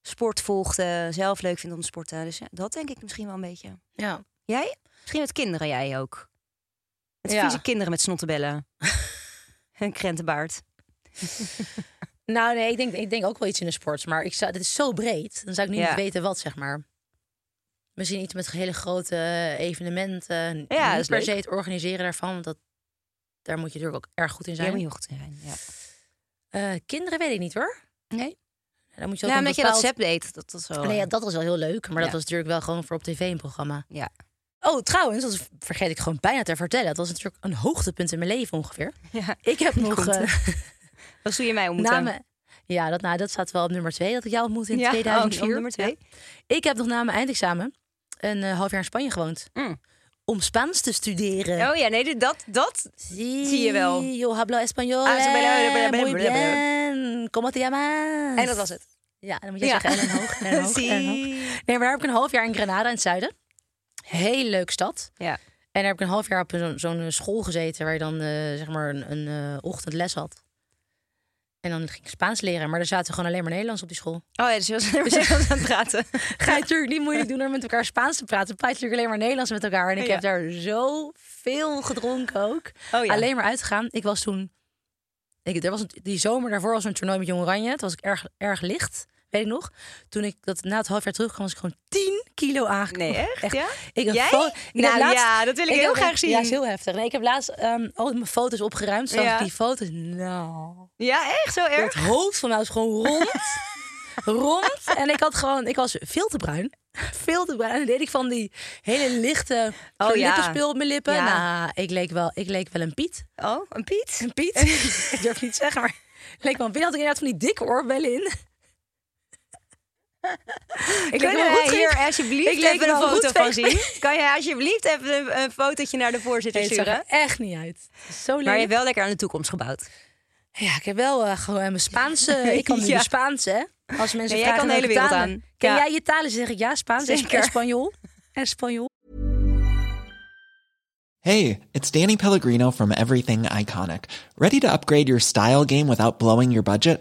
S2: sport volgde. Zelf leuk vind om te sporten. Dus ja, dat denk ik misschien wel een beetje.
S3: Ja.
S2: Jij? Misschien met kinderen jij ook. Met
S3: Ja.
S2: vieze kinderen met snottebellen. en krentenbaard.
S3: Nou nee, ik denk, ik denk ook wel iets in de sport. Maar ik zou, dit is zo breed. Dan zou ik nu
S2: Ja.
S3: niet weten wat, zeg maar. Misschien iets met hele grote eh, evenementen.
S2: Ja, dat
S3: niet
S2: is
S3: per
S2: leuk.
S3: se het organiseren daarvan. Want dat, daar moet je natuurlijk ook erg goed in
S2: Jij moet
S3: zijn.
S2: heel goed zijn. Ja.
S3: Eh, kinderen weet ik niet hoor.
S2: Nee?
S3: Dan moet je ook
S2: Ja,
S3: een
S2: omdat Nou, je dat
S3: bepaald...
S2: sep deed. Dat, dat zo.
S3: Nee, ja, dat was wel heel leuk. Maar
S2: Ja.
S3: dat was natuurlijk wel gewoon voor op tv een programma.
S2: Ja.
S3: Oh, trouwens, dat vergeet ik gewoon bijna te vertellen. Dat was natuurlijk een hoogtepunt in mijn leven ongeveer.
S2: Ja.
S3: Ik heb nog...
S2: komt.
S3: eh,
S2: Wat doe je mij ontmoeten?
S3: na mijn- ja, dat, nou, dat staat wel op nummer twee. Dat ik jou ontmoette in
S2: Ja, oh, op
S3: 2004.
S2: nummer twee.
S3: Ja. Ik heb nog na mijn eindexamen een eh, half jaar in Spanje gewoond.
S2: Mm.
S3: Om Spaans te studeren.
S2: Oh ja, nee, dit- dat, dat. zie je wel.
S3: Sí, Yo hablo español.
S2: Ah, zo ben je- ben je- ben je-
S3: Muy
S2: ben je- ben je-
S3: bien. ¿Cómo te llamas?
S2: En dat was het.
S3: Ja, dan moet je
S2: Ja.
S3: zeggen en hoog, en hoog,
S2: Zie.
S3: en hoog. Nee, maar daar heb ik een half jaar in Granada in het zuiden. Heel leuk stad.
S2: Ja.
S3: En daar heb ik een half jaar op zo'n zo'n eh, school gezeten... waar je dan eh, zeg maar een, een eh, ochtendles had. En dan ging ik Spaans leren. Maar er zaten gewoon alleen maar Nederlands op die school.
S2: Oh ja, dus je was dus je was aan het praten.
S3: Ga je natuurlijk niet moeilijk doen om met elkaar Spaans te praten. Praat je natuurlijk alleen maar Nederlands met elkaar. En ik
S2: Ja.
S3: heb daar zoveel gedronken ook.
S2: Oh ja.
S3: Alleen maar uitgegaan. Ik was toen... Ik, er was een, die zomer daarvoor was er een toernooi met Jong Oranje. Toen was ik erg, erg licht, weet ik nog. Toen ik dat na het half jaar terugkwam, was ik gewoon 10 kilo aangekomen.
S2: Nee, echt? Ja?
S3: Ik heb
S2: Jij?
S3: fo- ik heb
S2: Nou
S3: laatst-
S2: ja, dat wil ik heel
S3: heb-
S2: graag zien.
S3: Ja, is heel heftig. Nee, ik heb laatst ehm, al mijn foto's opgeruimd. Zag
S2: Ja.
S3: ik die foto's. Nou...
S2: Ja, echt zo erg?
S3: Het hoofd van mij was gewoon rond. rond. En ik had gewoon, ik was veel te bruin. Veel te bruin. En dan deed ik van die hele lichte
S2: Oh,
S3: zo'n
S2: ja.
S3: lippenspul op mijn lippen.
S2: Ja.
S3: Nou, ik leek, wel, ik leek wel een Piet.
S2: Oh, een Piet?
S3: Een Piet? ik durf niet te zeggen, maar ik leek wel een Piet. Had ik inderdaad van die dikke oorbellen in. ik leek
S2: Kunnen
S3: wel
S2: wij
S3: goed
S2: hier alsjeblieft
S3: Ik leek
S2: even
S3: wel
S2: een
S3: een
S2: foto
S3: roetveeg.
S2: van zien? Kan jij alsjeblieft even een, een fotootje naar de voorzitter
S3: Het zag
S2: sturen?
S3: er echt niet uit. Zo leuk.
S2: Maar je hebt wel lekker aan de toekomst gebouwd.
S3: Ja, ik heb wel eh, gewoon mijn Spaanse. Ik kan nu
S2: Ja.
S3: de Spaanse. hè. Als mensen
S2: jij
S3: vragen
S2: kan de hele
S3: welke
S2: wereld
S3: talen.
S2: aan.
S3: Ken
S2: Ja.
S3: jij je talen? Zeg ik ja, Spaans
S2: Zeker.
S3: en Spanjool. En Spanjool.
S4: Hey, it's Danny Pellegrino from Everything Iconic. Ready to upgrade your style game without blowing your budget?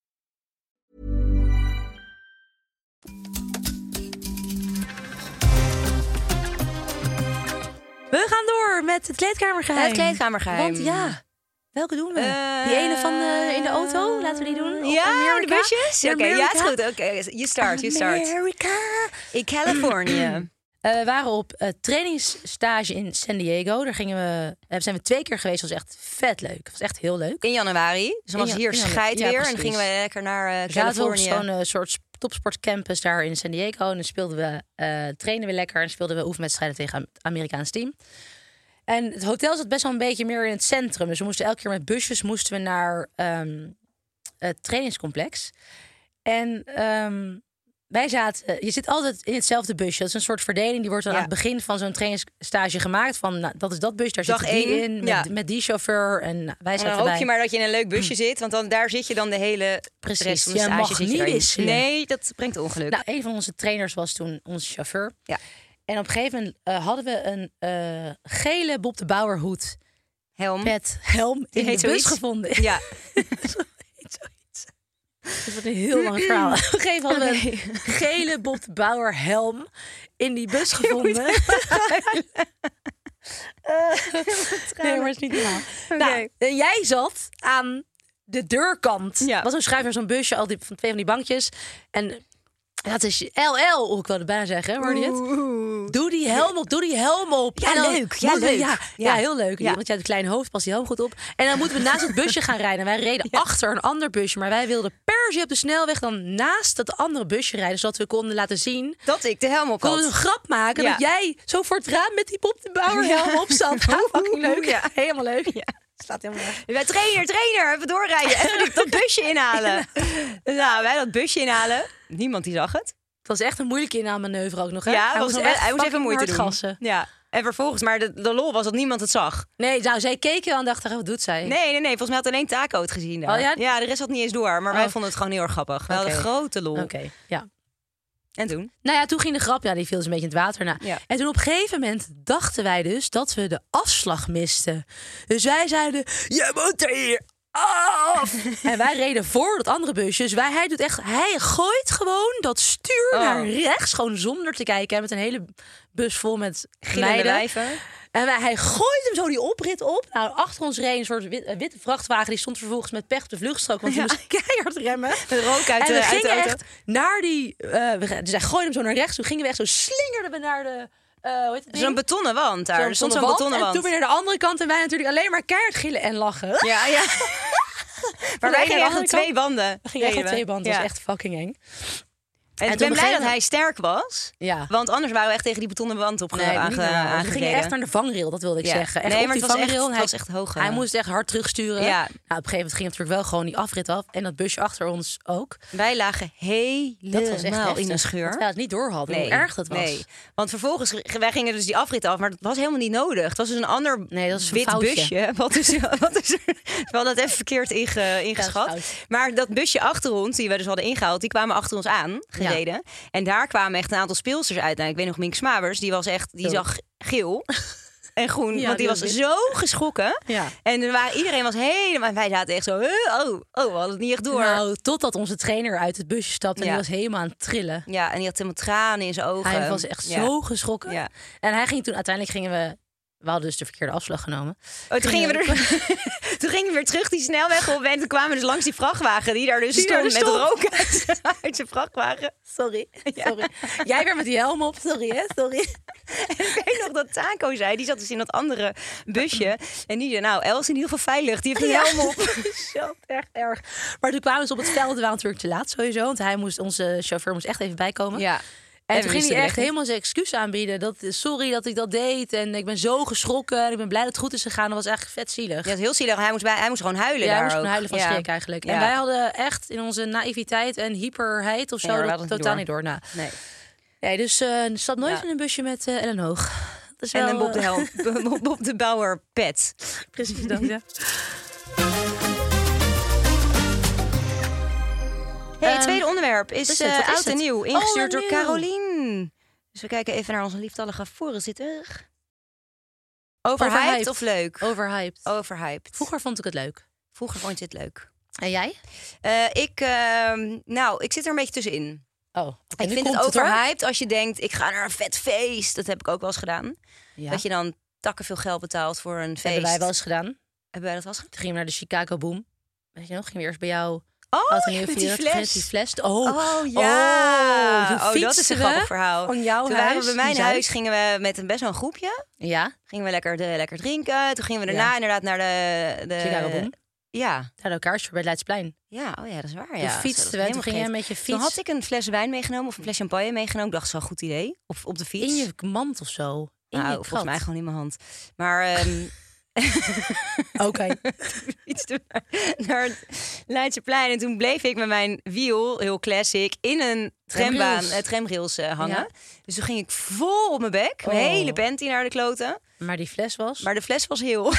S3: We gaan door met het kleedkamergeheim.
S2: Het kleedkamergeheim.
S3: Want ja, welke doen we?
S2: Eh,
S3: die ene van eh, in de auto, laten we die doen? Of
S2: Ja, de
S3: Amerika?
S2: busjes? Oké, ja, het is
S3: Amerika?
S2: goed. Oké, you start, you start.
S3: Amerika.
S2: In Californië.
S3: Eh, we waren op eh, trainingsstage in San Diego. Daar gingen we, eh, zijn we twee keer geweest. Dat was echt vet leuk. Dat was echt heel leuk.
S2: In januari. Dus dan was
S3: In ja-
S2: hier
S3: in januari.
S2: scheid
S3: Ja,
S2: weer. en dan
S3: precies.
S2: gingen we lekker naar eh
S3: We zaten op
S2: Californië.
S3: zo'n eh, soort topsportcampus daar in San Diego. En dan speelden we, eh trainen we lekker en speelden we oefenwedstrijden tegen een Amerikaans team. En het hotel zat best wel een beetje meer in het centrum. Dus we moesten elke keer met busjes moesten we naar ehm, het trainingscomplex. En ehm, wij zaten, eh, je zit altijd in hetzelfde busje. Dat is een soort verdeling. Die wordt dan
S2: Ja.
S3: aan het begin van zo'n trainingsstage gemaakt. Van nou, dat is dat busje, daar
S2: Dag
S3: zit die
S2: één,
S3: in. Met,
S2: ja.
S3: met die chauffeur. En nou, wij
S2: En dan
S3: zaten
S2: hoop
S3: bij. Hm.
S2: je maar dat je in een leuk busje zit. Want dan, daar zit je dan de hele
S3: Precies,
S2: rest van de
S3: je
S2: stage
S3: mag
S2: zit je
S3: niet
S2: daarin.
S3: wisselen.
S2: Nee, dat brengt ongeluk.
S3: Nou, een van onze trainers was toen onze chauffeur.
S2: Ja.
S3: En op een gegeven moment eh, hadden we een eh, gele Bob de Bauer hoed
S2: Helm.
S3: met helm in de
S2: heet
S3: bus
S2: zoiets.
S3: gevonden.
S2: Ja.
S3: Zoiets. Dat wordt een heel lang verhaal. Op een gegeven moment hadden we een gele Bob de Bauer helm in die bus gevonden. nee, maar het is niet normaal. Nou, en jij zat aan de deurkant.
S2: Ja.
S3: Er was een schuif naar zo'n busje, al die, van twee van die bankjes. En dat is LL, hoe ik wilde bijna zeggen, hoorde je het? Doe die helm op, doe die helm op.
S2: Ja,
S3: En dan
S2: leuk. Ja,
S3: moeten we-
S2: leuk.
S3: Ja,
S2: Ja.
S3: ja, heel leuk.
S2: Ja.
S3: Want jij hebt een klein hoofd, past die helm goed op. En dan moeten we naast het busje gaan rijden. Wij reden achter een ander busje. Maar wij wilden per se op de snelweg dan naast dat andere busje rijden. Zodat we konden laten zien
S2: Dat ik de helm op
S3: konden we een
S2: had.
S3: grap maken
S2: Ja.
S3: dat jij zo voor het raam met die Bob de Bauer helm op zat. Ja, fucking leuk.
S2: Ja.
S3: Helemaal leuk. Ja. Slaat helemaal nergens.
S2: Wij trainer, trainer, even doorrijden. Even dat busje inhalen. Nou, wij dat busje inhalen. Niemand die zag het.
S3: Het was echt een moeilijke inhaalmanoeuvre ook nog. Hè?
S2: Ja, was nog wel-
S3: echt
S2: hij moest even
S3: fucking
S2: moeite
S3: hard
S2: doen.
S3: gassen.
S2: Ja. En vervolgens, maar de, de lol was dat niemand het zag.
S3: Nee, nou, zij keken wel en dachten, wat doet zij?
S2: Nee, nee, nee. Volgens mij had alleen Taco het gezien daar.
S3: Oh ja? Oh.
S2: de rest had niet eens door. Maar wij vonden het gewoon heel erg grappig. We hadden
S3: Oké.
S2: grote lol.
S3: Oké, ja.
S2: En toen?
S3: Nou ja, toen ging de grap, ja, die viel dus een beetje in het water na.
S2: Ja.
S3: En toen op een gegeven moment dachten wij dus dat we de afslag misten. Dus wij zeiden, je moet er hier af! en wij reden voor dat andere busje. Dus wij, hij, doet echt, hij gooit gewoon dat stuur
S2: Oh.
S3: naar rechts, gewoon zonder te kijken. En met een hele bus vol met
S2: Gillende
S3: meiden.
S2: wijven.
S3: En wij, hij gooit hem zo die oprit op. Nou, achter ons reed een soort wit- een witte vrachtwagen. Die stond vervolgens met pech op de vluchtstrook. Want die moest keihard remmen.
S2: De rook uit
S3: en
S2: de-
S3: we
S2: uit de
S3: gingen
S2: auto.
S3: echt naar die... eh, we, gaan- dus hij gooide hem zo naar rechts. Toen gingen we echt zo slingerden we naar de... eh hoe heet het ding?
S2: Zo'n betonnen wand daar.
S3: Zo'n
S2: er stond zo'n
S3: wand.
S2: betonnen
S3: En
S2: wand.
S3: toen weer naar de andere kant. En wij natuurlijk alleen maar keihard gillen en lachen.
S2: Ja, ja. maar wij
S3: aan de
S2: gingen echt
S3: andere
S2: aan twee
S3: kant-
S2: banden.
S3: We gingen echt
S2: Reden
S3: aan
S2: we.
S3: twee banden.
S2: Ja.
S3: Dat is echt fucking eng.
S2: En,
S3: toen
S2: ik ben
S3: op een
S2: blij dat
S3: gegeven-
S2: hij sterk was.
S3: Ja.
S2: Want anders waren we echt tegen die betonnen wand op
S3: Nee, niet normaal.
S2: aange-
S3: we gingen echt
S2: aangereden.
S3: naar de vangrail, dat wilde ik
S2: Ja.
S3: zeggen. Echt
S2: Nee,
S3: op
S2: maar
S3: die
S2: het was
S3: vangrail.
S2: echt-
S3: en
S2: het
S3: hij,
S2: was echt hoog,
S3: Hij
S2: eh.
S3: moest echt hard terugsturen.
S2: Ja.
S3: Nou, op een gegeven moment ging natuurlijk wel gewoon die afrit af. En dat busje achter ons ook.
S2: Wij lagen helemaal
S3: Dat was echt heftig,
S2: in een scheur.
S3: Dat wij het niet door hadden, hoe erg dat was.
S2: Nee. Want vervolgens, g- wij gingen dus die afrit af, maar dat was helemaal niet nodig. Het was dus een ander
S3: Nee, dat is een
S2: wit
S3: foutje.
S2: busje. Wat is, wat is, we hadden het even verkeerd inge- ingeschat.
S3: Ja, dat is fout.
S2: maar dat busje achter ons, die we dus hadden ingehaald, die kwamen achter ons aan gereden. En daar kwamen echt een aantal speelsters uit. Nou, ik weet nog Mink Smabers, die was echt, die
S3: Zo.
S2: zag geel. En groen,
S3: Ja,
S2: want die
S3: die
S2: was
S3: was wit.
S2: zo geschrokken.
S3: Ja.
S2: En er waren, iedereen was helemaal... en Wij zaten echt zo... "Huh? Oh, oh, we hadden het niet echt door.
S3: Nou, totdat onze trainer uit het busje stapte en
S2: Ja.
S3: die was helemaal aan het trillen.
S2: Ja, en die had helemaal tranen in zijn ogen.
S3: Hij was echt
S2: Ja.
S3: zo geschrokken.
S2: Ja.
S3: En hij ging toen, uiteindelijk gingen we, we hadden dus de verkeerde afslag genomen.
S2: Oh, toen, gingen we er, toen gingen we weer terug die snelweg op. En toen kwamen we dus langs die vrachtwagen. Die daar dus
S3: Die
S2: stond
S3: daar
S2: met
S3: stond.
S2: rook uit, uit zijn vrachtwagen.
S3: Sorry, sorry. Jij weer met die helm op, sorry hè, sorry.
S2: En ik weet nog dat Taco zei. Die zat dus in dat andere busje. En die zei, nou, Els in ieder geval veilig. Die heeft een helm op.
S3: Zo echt erg. Maar toen kwamen ze op het veld. We waren natuurlijk te laat sowieso. Want hij moest, onze chauffeur moest echt even bijkomen. En,
S2: En we
S3: toen ging
S2: wisten
S3: hij
S2: de
S3: echt
S2: weg.
S3: helemaal zijn excuus aanbieden. Dat, sorry dat ik dat deed. En ik ben zo geschrokken. En ik ben blij dat het goed is gegaan. Dat was eigenlijk vet zielig.
S2: Ja, het is heel zielig. Hij moest, bij, hij moest gewoon huilen
S3: Ja,
S2: daar
S3: hij moest
S2: ook.
S3: gewoon huilen van
S2: Ja.
S3: schrik eigenlijk. En
S2: Ja.
S3: wij hadden echt in onze naïviteit en hyperheid of zo...
S2: Nee, hoor, we
S3: dat
S2: hadden het
S3: totaal
S2: niet
S3: niet door. Nou,
S2: Nee.
S3: nee, dus eh stap nooit
S2: Ja.
S3: in een busje met eh Ellen Hoog. Dat is
S2: En
S3: wel,
S2: een Bob de,
S3: eh,
S2: helm, Bob- Bob de Bauer pet.
S3: Precies dat, ja.
S2: Hey, het tweede onderwerp is,
S3: is het?
S2: eh,
S3: Ehm, Wat is
S2: oud
S3: het?
S2: en nieuw, ingestuurd
S3: Oh,
S2: door
S3: nieuw.
S2: Carolien. Dus we kijken even naar onze lieftallige voorzitter. Overhyped
S3: Overhyped.
S2: of leuk?
S3: Overhyped.
S2: Oh, Overhyped.
S3: Vroeger vond ik het leuk.
S2: Vroeger vond je het leuk.
S3: En jij?
S2: Eh, ik, ehm, nou, ik zit er een beetje tussenin.
S3: Oh, oké,
S2: Ik
S3: nu
S2: vind het
S3: komt hoor.
S2: overhyped als je denkt, ik ga naar een vet feest. Dat heb ik ook wel eens gedaan.
S3: Ja.
S2: Dat je dan takken veel geld betaalt voor een feest.
S3: Hebben wij wel eens gedaan. Toen
S2: Hebben wij dat wel eens gedaan?
S3: gingen we naar de Chicago Boom. Weet je nog? Gingen we eerst bij jou...
S2: Oh,
S3: oud en
S2: ja,
S3: nieuw
S2: met die
S3: vieren,
S2: fles.
S3: met die fles. Oh,
S2: Oh ja.
S3: toen
S2: Oh, dat is
S3: fietsten
S2: een
S3: we
S2: grappig verhaal.
S3: Van jouw
S2: Toen
S3: huis.
S2: waren we bij mijn
S3: naar
S2: huis, gingen we met een best wel een groepje.
S3: Ja,
S2: Gingen we lekker, eh, lekker drinken. Toen gingen we daarna
S3: Ja.
S2: inderdaad naar de... de
S3: Chicago Boom.
S2: Ja.
S3: Daar elkaar bij het Leidsplein.
S2: Eh, Ja, oh ja, dat is waar.
S3: Toen
S2: Ja.
S3: fietsten
S2: Zo, dat
S3: we,
S2: ik helemaal
S3: toen ging jij
S2: vergeten.
S3: met je
S2: Toen
S3: fiets
S2: had ik een fles wijn meegenomen of een fles champagne meegenomen. Ik dacht, dat is wel een goed idee. Op, op de fiets.
S3: in je mand of zo. In
S2: nou,
S3: je
S2: volgens mij
S3: krat.
S2: gewoon in mijn hand. Maar ehm
S3: Oké.
S2: iets te naar het Leidseplein. En toen bleef ik met mijn wiel, heel classic, in een trambaan,
S3: Tramrails.
S2: eh, tramrails eh, hangen.
S3: Ja.
S2: Dus toen ging ik vol op mijn bek. Mijn
S3: Oh.
S2: hele panty naar de kloten.
S3: Maar die fles was...
S2: Maar de fles was heel.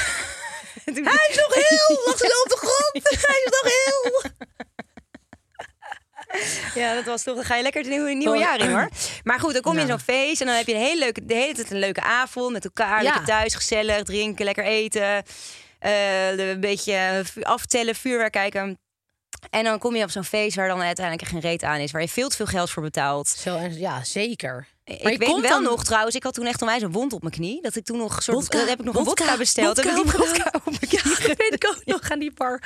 S2: Hij is nog heel! Lag ze op de grond? Hij is nog heel! Ja, dat was toch. Dan ga je lekker het nieuwe, nieuwe
S3: Oh.
S2: jaar in hoor. Maar goed, dan kom je in
S3: Nou.
S2: zo'n feest en dan heb je een hele leuke, de hele tijd een leuke avond met elkaar.
S3: Ja.
S2: Lekker thuis, gezellig, drinken, lekker eten. eh, een beetje vu- aftellen, vuurwerk kijken. En dan kom je op zo'n feest waar dan uiteindelijk geen reet aan is. Waar je veel te veel geld voor betaalt.
S3: Zo, en- ja, zeker. Maar
S2: ik
S3: je
S2: weet
S3: komt
S2: wel
S3: dan-
S2: nog trouwens, ik had toen echt onwijs een wond op mijn knie. Dat ik toen nog een soort,
S3: Wodka,
S2: dat heb ik nog een
S3: wodka,
S2: wodka besteld. heb ik die
S3: wodka
S2: wodka op mijn knie
S3: Dat weet ik ook nog aan die bar.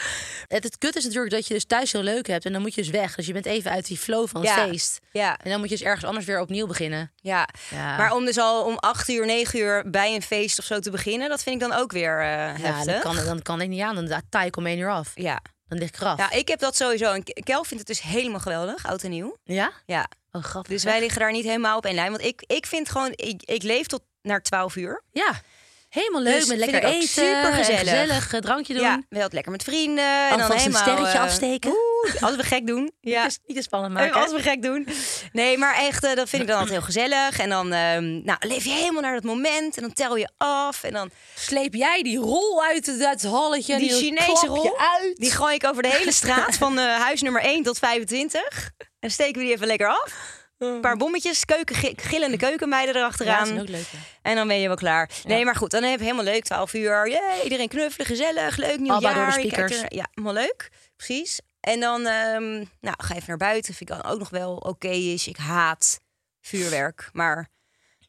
S3: Het, het kut is natuurlijk dat je dus thuis heel leuk hebt en dan moet je dus weg. Dus je bent even uit die flow van het
S2: Ja.
S3: feest.
S2: Ja,
S3: En dan moet je dus ergens anders weer opnieuw beginnen.
S2: ja.
S3: Ja.
S2: Maar om dus al om acht uur, negen uur bij een feest of zo te beginnen, dat vind ik dan ook weer eh heftig.
S3: Ja, dan kan, dan kan ik niet aan. Dan taai ik om één uur af.
S2: Ja.
S3: Dan lig ik eraf.
S2: ja, ik heb dat sowieso. En K- Kel vindt het dus helemaal geweldig, oud en nieuw.
S3: Ja?
S2: Ja,
S3: Oh, grappig.
S2: dus
S3: hè?
S2: wij liggen daar niet helemaal op één lijn. Want ik, ik vind gewoon, ik, ik leef tot naar twaalf uur.
S3: Ja. Helemaal leuk,
S2: Dus
S3: met
S2: vind
S3: lekker
S2: ik ook
S3: eten.
S2: supergezellig.
S3: gezellig eh, drankje doen.
S2: Ja, wel lekker met vrienden. en dan
S3: Alvast een
S2: helemaal,
S3: sterretje
S2: eh,
S3: afsteken.
S2: Oeh, als we gek doen. Ja.
S3: Niet te- niet te spannend
S2: Eh,
S3: maken.
S2: Als we gek doen. Nee, maar echt, eh, dat vind ik dan altijd heel gezellig. En dan ehm, nou, leef je helemaal naar dat moment. En dan tel je af. En dan
S3: Sleep jij die rol uit het, uit het halletje?
S2: die, Chinese
S3: klap je
S2: rol,
S3: uit.
S2: die gooi ik over de hele straat. van eh, huis nummer 1 tot 25. En steken we die even lekker af. Een paar bommetjes, keuken, gi- gillende keukenmeiden
S3: Ja,
S2: erachteraan.
S3: dat is ook leuk. hè.
S2: en dan ben je wel klaar. Nee, maar goed, dan heb je helemaal leuk. 12 uur, Jee, iedereen knuffelen, gezellig, leuk nieuwjaar.
S3: Abba door de
S2: Je kijkt
S3: speakers.
S2: er- Ja, helemaal leuk, precies. En dan ehm, nou, ga even naar buiten, vind ik dan ook nog wel oké is. Ik haat vuurwerk, maar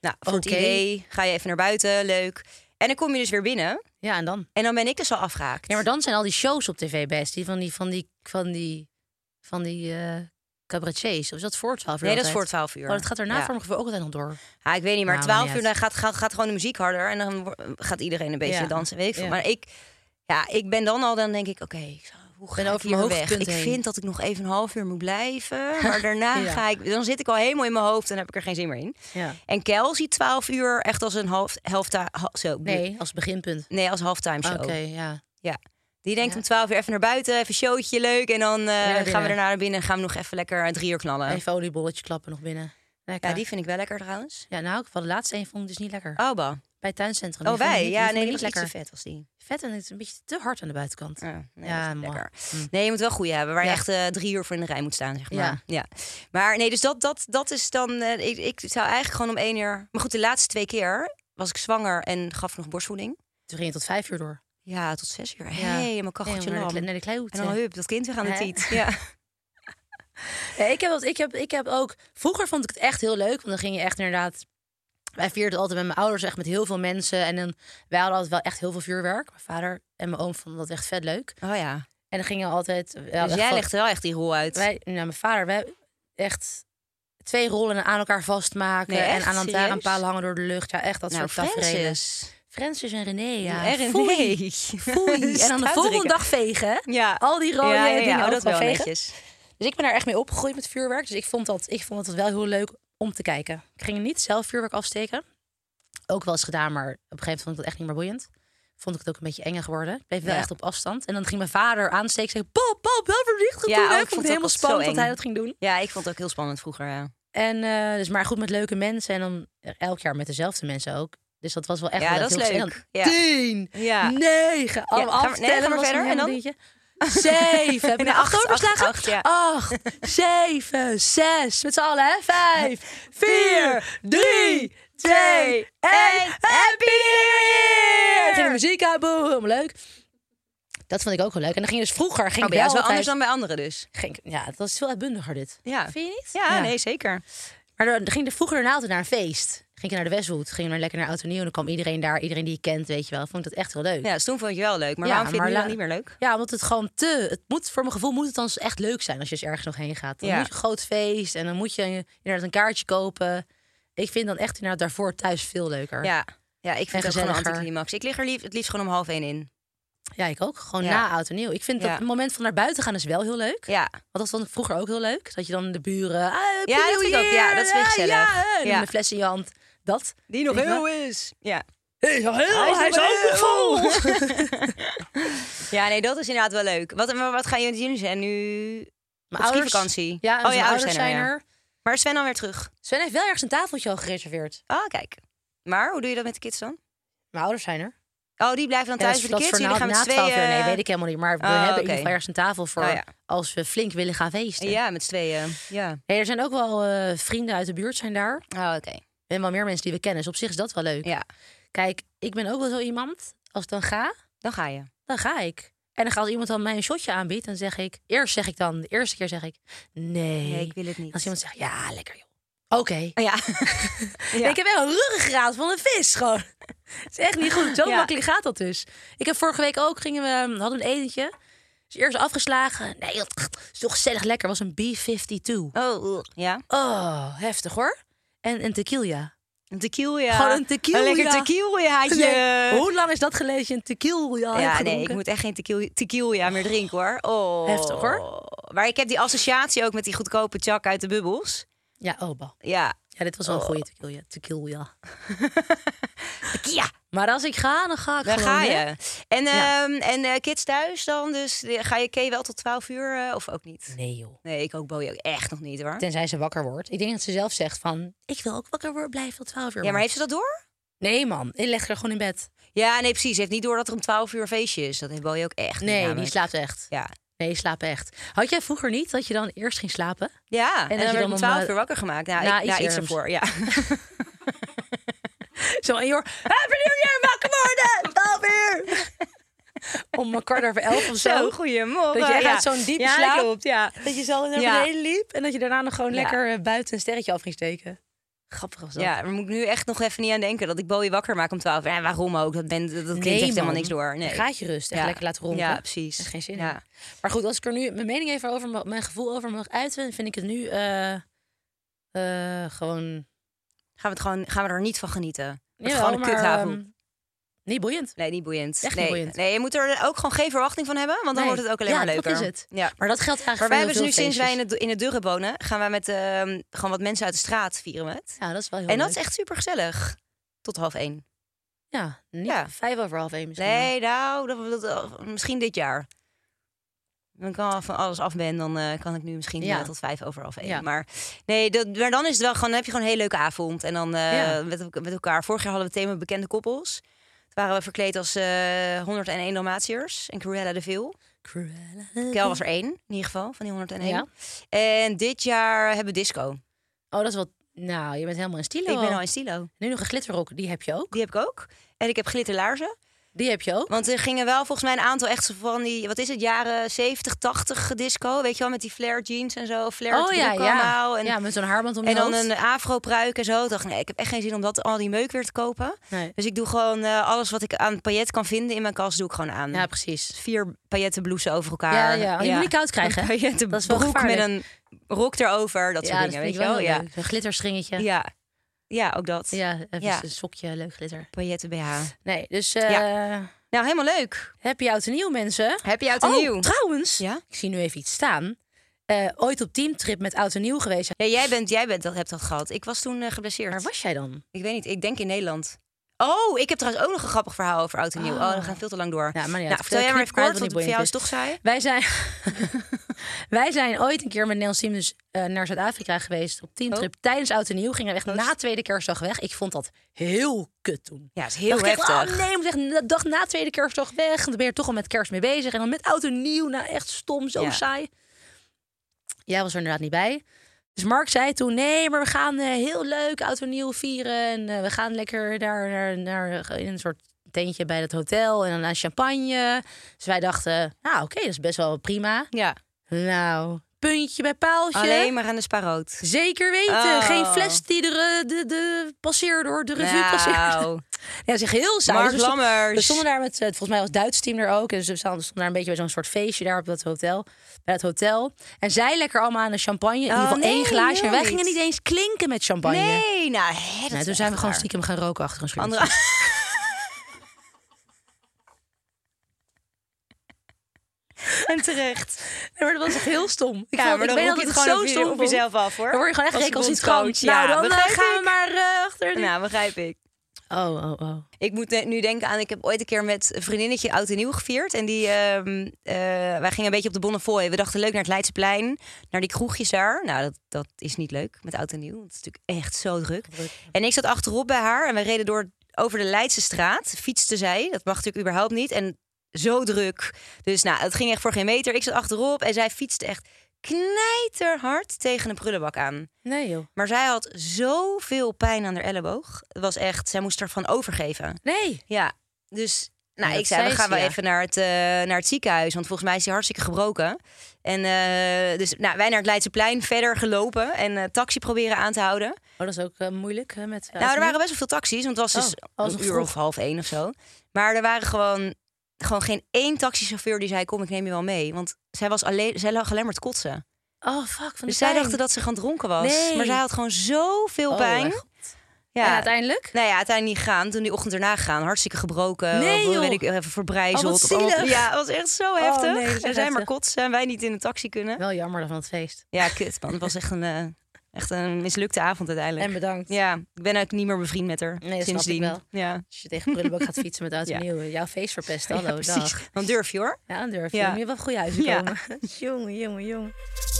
S2: nou, voor
S3: Oké.
S2: het idee ga je even naar buiten, leuk. En dan kom je dus weer binnen
S3: Ja, en dan?
S2: en dan ben ik dus al afgehaakt.
S3: Ja, maar dan zijn al die shows op tv best. Die van die, van die, van die, van die eh cabaretiers. Of is dat voor 12 uur?
S2: nee, dat is
S3: altijd?
S2: voor 12 uur.
S3: Oh, dat gaat daarna
S2: Ja.
S3: voor mijn gevoel ook altijd nog door.
S2: Ja, ik weet niet, maar
S3: Nou,
S2: 12
S3: maakt
S2: uur
S3: niet
S2: dan gaat, gaat, gaat gewoon de muziek harder en dan wo- gaat iedereen een beetje
S3: Ja.
S2: dansen, weet ik veel.
S3: Ja.
S2: Maar ik, ja, ik ben dan al, dan denk ik, oké, ik zal- hoe ga
S3: Ben
S2: ik
S3: over
S2: hier
S3: mijn
S2: weg?
S3: hoogtepunt
S2: Ik
S3: heen.
S2: vind dat ik nog even een half uur moet blijven, maar daarna
S3: Ja.
S2: ga ik, dan zit ik al helemaal in mijn hoofd en heb ik er geen zin meer in.
S3: Ja.
S2: En Kel ziet 12 uur echt als een half, helft, zo,
S3: Nee, als beginpunt.
S2: nee, als halftime show.
S3: Oké, ja.
S2: Ja. Die denkt om 12 uur even naar buiten, even een showtje leuk en dan eh, gaan we
S3: binnen.
S2: daarna naar binnen en gaan we nog even lekker eh, drie uur knallen.
S3: Even oliebolletje klappen nog binnen. Lekker.
S2: Ja, die vind ik wel lekker trouwens.
S3: Ja, nou, ik- van de laatste een vond ik dus niet lekker.
S2: Oh, bah.
S3: Bij het tuincentrum.
S2: Oh,
S3: Die vond ik
S2: wij?
S3: niet-
S2: Ja,
S3: vond ik
S2: nee, die
S3: niet
S2: was niet zo
S3: lekker.
S2: vet als die.
S3: Vet en het is een beetje te hard aan de buitenkant.
S2: Ja, Ah, nee,
S3: Ja,
S2: dat is
S3: mooi.
S2: lekker.
S3: Mm.
S2: Nee, je moet wel goede hebben. Waar je
S3: Ja.
S2: echt eh, drie uur voor in de rij moet staan, zeg maar. Ja.
S3: Ja.
S2: Maar nee, dus dat, dat, dat is dan... eh, ik, ik zou eigenlijk gewoon om één uur... Maar goed, de laatste twee keer was ik zwanger en gaf ik nog borstvoeding.
S3: Toen ging het tot vijf uur door.
S2: Ja, tot zes uur.
S3: Ja.
S2: Helemaal kacheltje
S3: Helemaal
S2: lam.
S3: naar de, naar de
S2: En dan
S3: kleihoed.
S2: hup, dat kind weer aan de
S3: Hè? Oh
S2: tiet. Ja.
S3: Ja, Eh, ik, heb, dat- ik, heb, ik heb ook... Vroeger vond ik het echt heel leuk. Want dan ging je echt inderdaad... Wij vierden het altijd met mijn ouders, echt met heel veel mensen. En dan, wij hadden altijd wel echt heel veel vuurwerk. Mijn vader en mijn oom vonden dat echt vet leuk.
S2: Oh ja.
S3: En dan gingen we altijd... we hadden
S2: Dus
S3: echt
S2: jij
S3: van-
S2: legt wel echt die rol uit.
S3: Wij, nou, mijn vader, wij echt twee rollen aan elkaar vastmaken.
S2: Nee, echt?
S3: en aan
S2: Serieus?
S3: elkaar een paal hangen door de lucht. Ja, echt dat
S2: nou,
S3: soort tafereelen.
S2: Francis.
S3: Francis en René, ja.
S2: Ja,
S3: Foei,
S2: nee.
S3: foei. En dan de volgende dag vegen, hè?
S2: Ja.
S3: Al die rode
S2: ja, ja, ja,
S3: dingen
S2: oh,
S3: allemaal
S2: dat wel
S3: vegen.
S2: netjes.
S3: Dus ik ben daar echt mee opgegroeid met vuurwerk. Dus ik vond dat, ik vond dat wel heel leuk om te kijken. Ik ging niet zelf vuurwerk afsteken. Ook wel eens gedaan, maar op een gegeven moment vond ik dat echt niet meer boeiend. Vond ik het ook een beetje eng geworden. Ik bleef wel
S2: Ja.
S3: echt op afstand. En dan ging mijn vader aansteken. Zei, pap, pap, wel voorzichtig
S2: Ja,
S3: doen.
S2: oh,
S3: hè."
S2: ik
S3: ik
S2: vond
S3: vond
S2: het
S3: het helemaal
S2: ook zo
S3: spannend dat
S2: eng.
S3: hij dat ging doen.
S2: Ja, ik vond het ook heel spannend vroeger, ja.
S3: En, eh, dus, maar goed, met leuke mensen. En dan elk jaar met dezelfde mensen ook. Dus dat was wel echt
S2: Ja,
S3: wel
S2: dat is
S3: heel gezellig.
S2: leuk.
S3: En
S2: Ja.
S3: dan Tien,
S2: Ja.
S3: negen, allemaal
S2: ga maar- nee,
S3: aftellen.
S2: ga maar
S3: was
S2: verder.
S3: een
S2: En dan?
S3: dingetje. Zeven. Heb je
S2: Nee,
S3: nou acht
S2: acht,
S3: overslagen?
S2: acht, acht, ja.
S3: Acht, zeven, zes. Met z'n allen, hè? Vijf, vier, drie, twee, één.
S2: Happy New
S3: En ging de muziek aan, boe, helemaal leuk. Dat vond ik ook wel leuk. En dan ging dus vroeger... Ging
S2: Oh,
S3: ik
S2: ja,
S3: wel
S2: is wel anders
S3: altijd-
S2: dan bij anderen dus.
S3: ging- ja, dat is veel uitbundiger dit.
S2: Ja.
S3: Vind je niet?
S2: Ja, nee, zeker.
S3: Maar dan ging er vroeger daarna altijd naar een feest. Ging je naar de Westwood, ging je maar lekker naar Oud en Nieuw. En dan kwam iedereen daar, iedereen die je kent, weet je wel. Vond ik dat echt heel leuk.
S2: Ja, dus toen vond je het wel leuk. Maar
S3: Ja,
S2: waarom vind je het nu
S3: maar
S2: dan
S3: la-
S2: niet meer leuk?
S3: Ja, want het gewoon te... Het moet, voor mijn gevoel moet het dan echt leuk zijn als je eens ergens nog heen gaat. Dan
S2: Ja.
S3: moet je een groot feest en dan moet je inderdaad een kaartje kopen. Ik vind dan echt inderdaad daarvoor thuis veel leuker.
S2: Ja. Ja, ik vind
S3: En
S2: het ook gewoon een
S3: gezelliger.
S2: anticlimax. Ik lig er lief, het liefst gewoon om half één in.
S3: Ja, ik ook. Gewoon
S2: Ja.
S3: na Oud en Nieuw. Ik vind
S2: Ja.
S3: dat het moment van naar buiten gaan is wel heel leuk.
S2: Ja,
S3: Want dat vond ik vroeger ook heel leuk. Dat je dan de buren... Ah,
S2: Ja, dat vind ik ook. Ja, dat is weer gezellig.
S3: Ja,
S2: Ja.
S3: ja. Met een fles in je hand. Dat.
S2: die nog
S3: Weet je
S2: heel is. Ja.
S3: Hey,
S2: Hij is hij is nog ook nog
S3: vol.
S2: ja, nee, dat is inderdaad wel leuk. Wat, maar wat gaan jullie doen? Zijn nu
S3: Mijn
S2: op
S3: ouders-
S2: vakantie?
S3: Ja,
S2: oh,
S3: dus
S2: je
S3: mijn ouders zijn
S2: ja.
S3: er.
S2: Maar is Sven dan weer terug?
S3: Sven heeft wel ergens een tafeltje al gereserveerd.
S2: Oh, kijk. Maar hoe doe je dat met de kids dan?
S3: Mijn ouders zijn er. Eh,
S2: Oh, die blijven dan
S3: Ja, dat
S2: thuis
S3: is-
S2: voor de
S3: dat is
S2: kids. Jullie
S3: voor
S2: gaan
S3: na-
S2: met z'n
S3: na 12
S2: tweeën...
S3: uur. Nee, weet ik helemaal niet. Maar we
S2: Oh,
S3: hebben
S2: oké.
S3: in ieder geval ergens een tafel voor
S2: Oh, ja.
S3: als we flink willen gaan feesten.
S2: Ja, met z'n tweeën. Ja.
S3: Hey, er zijn ook wel eh, vrienden uit de buurt zijn daar.
S2: Oh, oké.
S3: En wel meer mensen die we kennen. Dus op zich is dat wel leuk.
S2: Ja,
S3: Kijk, ik ben ook wel zo iemand. Als ik dan ga,
S2: dan ga je.
S3: dan ga ik. En dan gaat iemand dan mij een shotje aanbiedt. Dan zeg ik, eerst zeg ik dan, de eerste keer zeg ik, nee.
S2: Nee, ik wil het niet.
S3: Als iemand zegt, ja, lekker joh. Oké.
S2: Oh, Ja. Ja.
S3: Ik heb wel een ruggengraat van een vis gewoon. Het is echt niet goed. Zo
S2: Ja.
S3: makkelijk gaat dat dus. Ik heb vorige week ook, gingen we, we hadden een etentje. Dus eerst afgeslagen. Nee, dat is toch gezellig lekker. was een B-52.
S2: Oh, oeh. ja.
S3: Oh, heftig hoor. En een tequila.
S2: Een tequila.
S3: Gewoon een tequila.
S2: Een lekker tequilaatje.
S3: Nee, Hoe lang is dat geleden dat je een tequila
S2: Ja,
S3: hebt
S2: nee,
S3: Oh, gedronken?
S2: ik moet echt geen tequila, tequila meer drinken hoor. Oh.
S3: Heftig, hoor.
S2: Maar ik heb die associatie ook met die goedkope chak uit de bubbels.
S3: Ja, oba.
S2: Ja. Oh.
S3: Ja, dit was wel een goede tequila. Tequila.
S2: Tequila.
S3: Maar als ik ga, dan ga ik
S2: Daar
S3: gewoon.
S2: ga
S3: hè?
S2: je. En,
S3: Ja.
S2: ehm, en eh, kids thuis dan? Dus eh, ga je Kay wel tot 12 uur eh, of ook niet?
S3: Nee joh.
S2: Nee, ik ook Bowie ook echt nog niet hoor.
S3: Tenzij ze wakker wordt. Ik denk dat ze zelf zegt van, ik wil ook wakker worden, blijven tot 12 uur.
S2: Ja, maar
S3: man.
S2: heeft ze dat door?
S3: Nee man, ik leg haar gewoon in bed.
S2: Ja, nee, precies. Ze heeft niet door dat er om 12 uur een feestje is. Dat heeft Bowie ook echt. niet
S3: Nee, die
S2: namelijk.
S3: slaapt echt.
S2: Ja.
S3: Nee, die slaapt echt. Had jij vroeger niet dat je dan eerst ging slapen?
S2: Ja, en,
S3: dat je
S2: dan
S3: dan
S2: werd ik om
S3: om,
S2: 12
S3: eh,
S2: uur wakker gemaakt. Nou,
S3: na
S2: ik,
S3: iets
S2: na iets
S3: erms.
S2: ervoor, ja.
S3: Zo, en je hoort, Happy New Year, wakker worden! 12 uur! Om een kwart over elf of zo.
S2: goeiemorgen.
S3: Dat je echt
S2: ja.
S3: uit zo'n diepe
S2: ja,
S3: slaap-
S2: Klopt, ja,
S3: Dat je zo naar
S2: Ja.
S3: beneden liep en dat je daarna nog gewoon
S2: Ja.
S3: lekker eh, buiten een sterretje af ging steken. Grappig was dat.
S2: Ja, daar moet ik nu echt nog even niet aan denken dat ik Bowie wakker maak om 12 uur. Ja, waarom ook? Dat, ben, dat dat kind
S3: Nee,
S2: heeft helemaal
S3: man.
S2: niks door. Nee.
S3: Dan Gaat je rust, echt
S2: Ja.
S3: lekker laten ronken.
S2: Ja, precies.
S3: Er is geen zin
S2: Ja.
S3: in. Maar goed, als ik er nu mijn mening even over, mag- mijn gevoel over mag uiten, vind ik het nu eh, eh, gewoon...
S2: Gaan, we het gewoon, gaan we er niet van genieten? Wordt
S3: Jawel,
S2: gewoon een
S3: maar,
S2: kutavond.
S3: ehm, niet boeiend.
S2: Nee, niet boeiend.
S3: Echt niet
S2: nee.
S3: boeiend.
S2: Nee, je moet er ook gewoon geen verwachting van hebben, want dan
S3: Nee.
S2: wordt het ook alleen
S3: Ja,
S2: maar
S3: dat
S2: leuker.
S3: is het.
S2: Ja.
S3: Maar dat geldt eigenlijk
S2: Maar
S3: voor
S2: wij
S3: heel
S2: hebben dus
S3: veel
S2: nu sinds wij
S3: feestjes.
S2: in het, in het Durre wonen, gaan wij met ehm, gewoon wat mensen uit de straat vieren we het.
S3: Ja, Nou, dat is wel heel
S2: En dat
S3: leuk.
S2: is echt super gezellig. Tot half één.
S3: Ja, niet
S2: Ja.
S3: vijf over half één misschien.
S2: Nee, nou, dat, dat- misschien dit jaar. Dan kan al- van alles af ben, dan eh, kan ik nu misschien
S3: Ja.
S2: eh, tot vijf over half één.
S3: Ja.
S2: Maar nee, dat, maar dan is het wel gewoon, dan heb je gewoon een hele leuke avond. En dan eh,
S3: Ja.
S2: met, elk- met elkaar. Vorig jaar hadden we het thema bekende koppels. Toen waren we verkleed als eh 101 Dalmatiërs en Cruella de Vil.
S3: Cruella.
S2: Kel was er één, in ieder geval, van die 101.
S3: Mhm. Ja.
S2: En dit jaar hebben we disco.
S3: Oh, dat is wel... Nou, je bent helemaal in stilo.
S2: Ik ben al in stilo.
S3: Nu nog een glitterrok, die heb je ook.
S2: Die heb ik ook. En ik heb glitterlaarzen.
S3: Die heb je ook.
S2: Want er gingen wel volgens mij een aantal echt zo van die, wat is het, jaren 70, 80 disco. Weet je wel, met die flare jeans en zo. Flare
S3: oh ja, ja.
S2: allemaal. En,
S3: ja, met zo'n haarband om je
S2: en dan
S3: hoofd.
S2: een afro-pruik en zo. Ik dacht, nee, ik heb echt geen zin om dat, al die meuk weer te kopen.
S3: Nee.
S2: Dus ik doe gewoon eh, alles wat ik aan paillet kan vinden in mijn kast, doe ik gewoon aan.
S3: Ja, precies.
S2: Vier pailletten blouses over elkaar.
S3: Ja, ja. want Je moet niet koud krijgen.
S2: Een
S3: hè?
S2: pailletten
S3: Dat is wel
S2: broek met
S3: gevaarlijk.
S2: een rok erover, dat soort
S3: ja, dat
S2: dingen, weet
S3: vind ik
S2: je
S3: wel
S2: wel.
S3: heel
S2: Ja.
S3: leuk. Een glitterstringetje. Ja,
S2: ja. ja, ook dat.
S3: even
S2: Ja.
S3: een sokje, leuk glitter.
S2: Pailletten BH.
S3: Nee, dus eh
S2: Nou, helemaal leuk.
S3: happy oud en nieuw, mensen.
S2: Heb je uit
S3: oh,
S2: een nieuw?
S3: trouwens.
S2: Ja?
S3: Ik zie nu even iets staan. Eh, ooit op teamtrip met oud en nieuw geweest.
S2: Ja, jij bent, jij bent, dat, hebt dat gehad. Ik was toen eh, geblesseerd.
S3: Waar was jij dan?
S2: Ik weet niet, ik denk in Nederland. Oh, ik heb trouwens ook nog een grappig verhaal over oud en nieuw. Oh, we gaan veel te lang door.
S3: Ah. Ja, maar niet uit.
S2: nou, vertel jij maar even
S3: Knip maar uit,
S2: kort, want
S3: want die
S2: voor jou is
S3: boeiend
S2: toch saai.
S3: Wij zijn, wij zijn ooit een keer met Nels Team dus, eh, naar Zuid-Afrika geweest op
S2: Oh.
S3: teamtrip. Tijdens Oud en Nieuw gingen we echt na tweede kerstdag weg. Ik vond dat heel kut toen.
S2: Ja, het is heel
S3: dacht ik echt,
S2: heftig.
S3: oh nee, ik moet echt de dag na tweede kerstdag weg. En dan ben je er toch al met kerst mee bezig. En dan met Oud en Nieuw, nou echt stom, zo
S2: Ja.
S3: saai. Jij was er inderdaad niet bij. Dus Mark zei toen, nee, maar we gaan eh, heel leuk oud en nieuw vieren. En eh, we gaan lekker daar naar, naar, in een soort tentje bij het hotel. En dan aan champagne. Dus wij dachten, nou oké, dat is best wel prima.
S2: Ja,
S3: Nou, puntje bij paaltje.
S2: alleen maar aan de sparoot.
S3: Zeker weten.
S2: Oh.
S3: Geen fles die de, de, de passeer door de revue passeert.
S2: Nou,
S3: Ja, zeg heel saai.
S2: Mark
S3: Dus we sto-
S2: Lammers.
S3: We stonden daar met, eh, volgens mij was het Duits team er ook. En ze stonden stonden daar een beetje bij zo'n soort feestje daar op dat hotel. Bij dat hotel. En zij lekker allemaal aan de champagne. In ieder geval
S2: Oh, nee,
S3: één glaasje. En wij
S2: nooit.
S3: gingen niet eens klinken met champagne.
S2: nee, nou, hè, dat is
S3: Nee, toen
S2: echt
S3: zijn we gewoon
S2: raar.
S3: stiekem gaan roken achter een schuurtje.
S2: Andere... en terecht.
S3: Nee, maar dat was echt heel stom. Ik,
S2: Ja,
S3: vond-
S2: maar
S3: ik
S2: dan
S3: weet
S2: roep
S3: dat
S2: je
S3: het
S2: het gewoon
S3: zo
S2: op je-
S3: stom
S2: op
S3: vond.
S2: jezelf af, hoor.
S3: Dan word je gewoon echt
S2: Als
S3: recalcitrant.
S2: bondscoach, ja,
S3: nou, dan eh,
S2: begrijp
S3: gaan we
S2: ik.
S3: maar eh, achter die...
S2: Nou, begrijp ik.
S3: Oh, oh, oh.
S2: Ik moet ne- nu denken aan, ik heb ooit een keer met een vriendinnetje oud en nieuw gevierd. En die, ehm, eh, wij gingen een beetje op de Bonnefoy. We dachten leuk naar het Leidseplein, naar die kroegjes daar. Nou, dat, dat is niet leuk met oud en nieuw. Het is natuurlijk echt zo druk. En ik zat achterop bij haar en we reden door over de Leidse straat. Fietste zij, dat mag natuurlijk überhaupt niet. En zo druk. Dus nou, het ging echt voor geen meter. Ik zat achterop en zij fietste echt knijterhard tegen een prullenbak aan.
S3: Nee, joh.
S2: Maar zij had zoveel pijn aan haar elleboog. Het was echt, zij moest ervan overgeven.
S3: Nee.
S2: Ja, dus nou,
S3: dat
S2: ik zei,
S3: zei
S2: we gaan
S3: ze,
S2: wel
S3: ja.
S2: even naar het, eh, naar het ziekenhuis. Want volgens mij is hij hartstikke gebroken. En eh, dus nou, wij naar het Leidseplein verder gelopen. En eh, taxi proberen aan te houden.
S3: Oh, dat is ook eh, moeilijk eh, met...
S2: nou, er waren best wel veel taxis. Want het was dus
S3: Oh, was
S2: een
S3: nog
S2: uur
S3: vroeg.
S2: of half één of zo. Maar er waren gewoon, gewoon geen één taxichauffeur die zei... kom, ik neem je wel mee. Want zij, was alleen, zij lag alleen maar te kotsen.
S3: Oh, fuck. Van de
S2: Dus zij
S3: pijn.
S2: dachten dat ze gaan dronken was.
S3: Nee.
S2: Maar zij had gewoon zoveel
S3: Oh,
S2: pijn.
S3: echt? En uiteindelijk?
S2: Nou ja, uiteindelijk niet gegaan. Toen die ochtend erna gegaan. Hartstikke gebroken.
S3: Nee,
S2: of,
S3: joh.
S2: Weet ik, even verbrijzeld.
S3: Oh, wat
S2: of allemaal-
S3: zielig.
S2: Ja, het was echt zo
S3: Oh,
S2: heftig.
S3: nee, dat is
S2: en
S3: echt
S2: zij maar
S3: heftig.
S2: kotsen en wij niet in de taxi kunnen.
S3: Wel jammer van het feest.
S2: Ja, kut man. Het was echt een... eh, Echt een mislukte avond uiteindelijk.
S3: En bedankt.
S2: Ja, ik ben ook niet meer bevriend met haar
S3: Nee, dat snap ik
S2: sindsdien.
S3: wel.
S2: Ja.
S3: Als je tegen prullenbak gaat fietsen met oud en
S2: Ja.
S3: nieuw. Jouw feest verpest. Hallo,
S2: Ja,
S3: dag.
S2: Dan durf je hoor.
S3: Ja, dan durf je.
S2: Ja.
S3: Je moet wel goed uitkomen.
S2: Ja.
S3: jongen, jongen, jongen.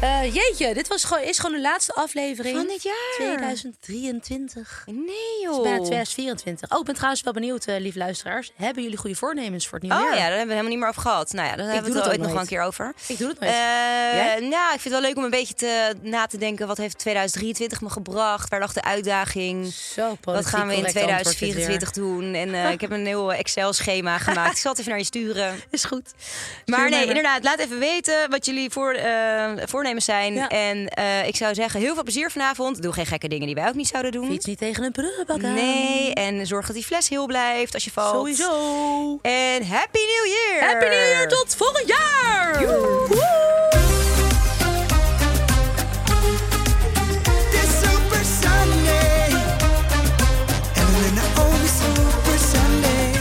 S3: Eh, jeetje, dit was gewoon, is gewoon de laatste aflevering.
S2: Van dit jaar. Oh.
S3: 2023.
S2: Nee joh.
S3: Het is bijna 2024. Oh, ik ben trouwens wel benieuwd, eh, lieve luisteraars. Hebben jullie goede voornemens voor het nieuwe
S2: Oh ja, daar
S3: jaar?
S2: hebben we het helemaal niet meer over gehad. Nou ja, daar hebben we
S3: doe
S2: het
S3: dat
S2: ooit
S3: ook
S2: nog wel een
S3: nooit.
S2: keer over.
S3: Ik doe dat nooit.
S2: Eh,
S3: Jij?
S2: nou, ik vind het wel leuk om een beetje te, na te denken. Wat heeft 2023 me gebracht? Waar lag de uitdaging?
S3: Zo
S2: Wat
S3: politiek
S2: gaan we in
S3: correct antwoord dit weer.
S2: 2024 doen? En eh, ik heb een heel Excel-schema gemaakt. Ik zal het even naar je sturen.
S3: Is goed.
S2: Maar
S3: Stuur mij
S2: nee,
S3: maar.
S2: inderdaad, laat even weten wat jullie voor, eh, voornemens zijn.
S3: Ja.
S2: En eh, ik zou zeggen, heel veel plezier vanavond. Doe geen gekke dingen die wij ook niet zouden doen.
S3: Fiets niet tegen een prullenbak aan.
S2: Nee, en zorg dat die fles heel blijft als je valt.
S3: Sowieso.
S2: En Happy New Year!
S3: Happy New Year, tot volgend jaar!
S1: This Super Sunday. Evelina only Super Sunday.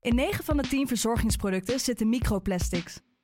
S5: In 9 van de 10 verzorgingsproducten zitten microplastics.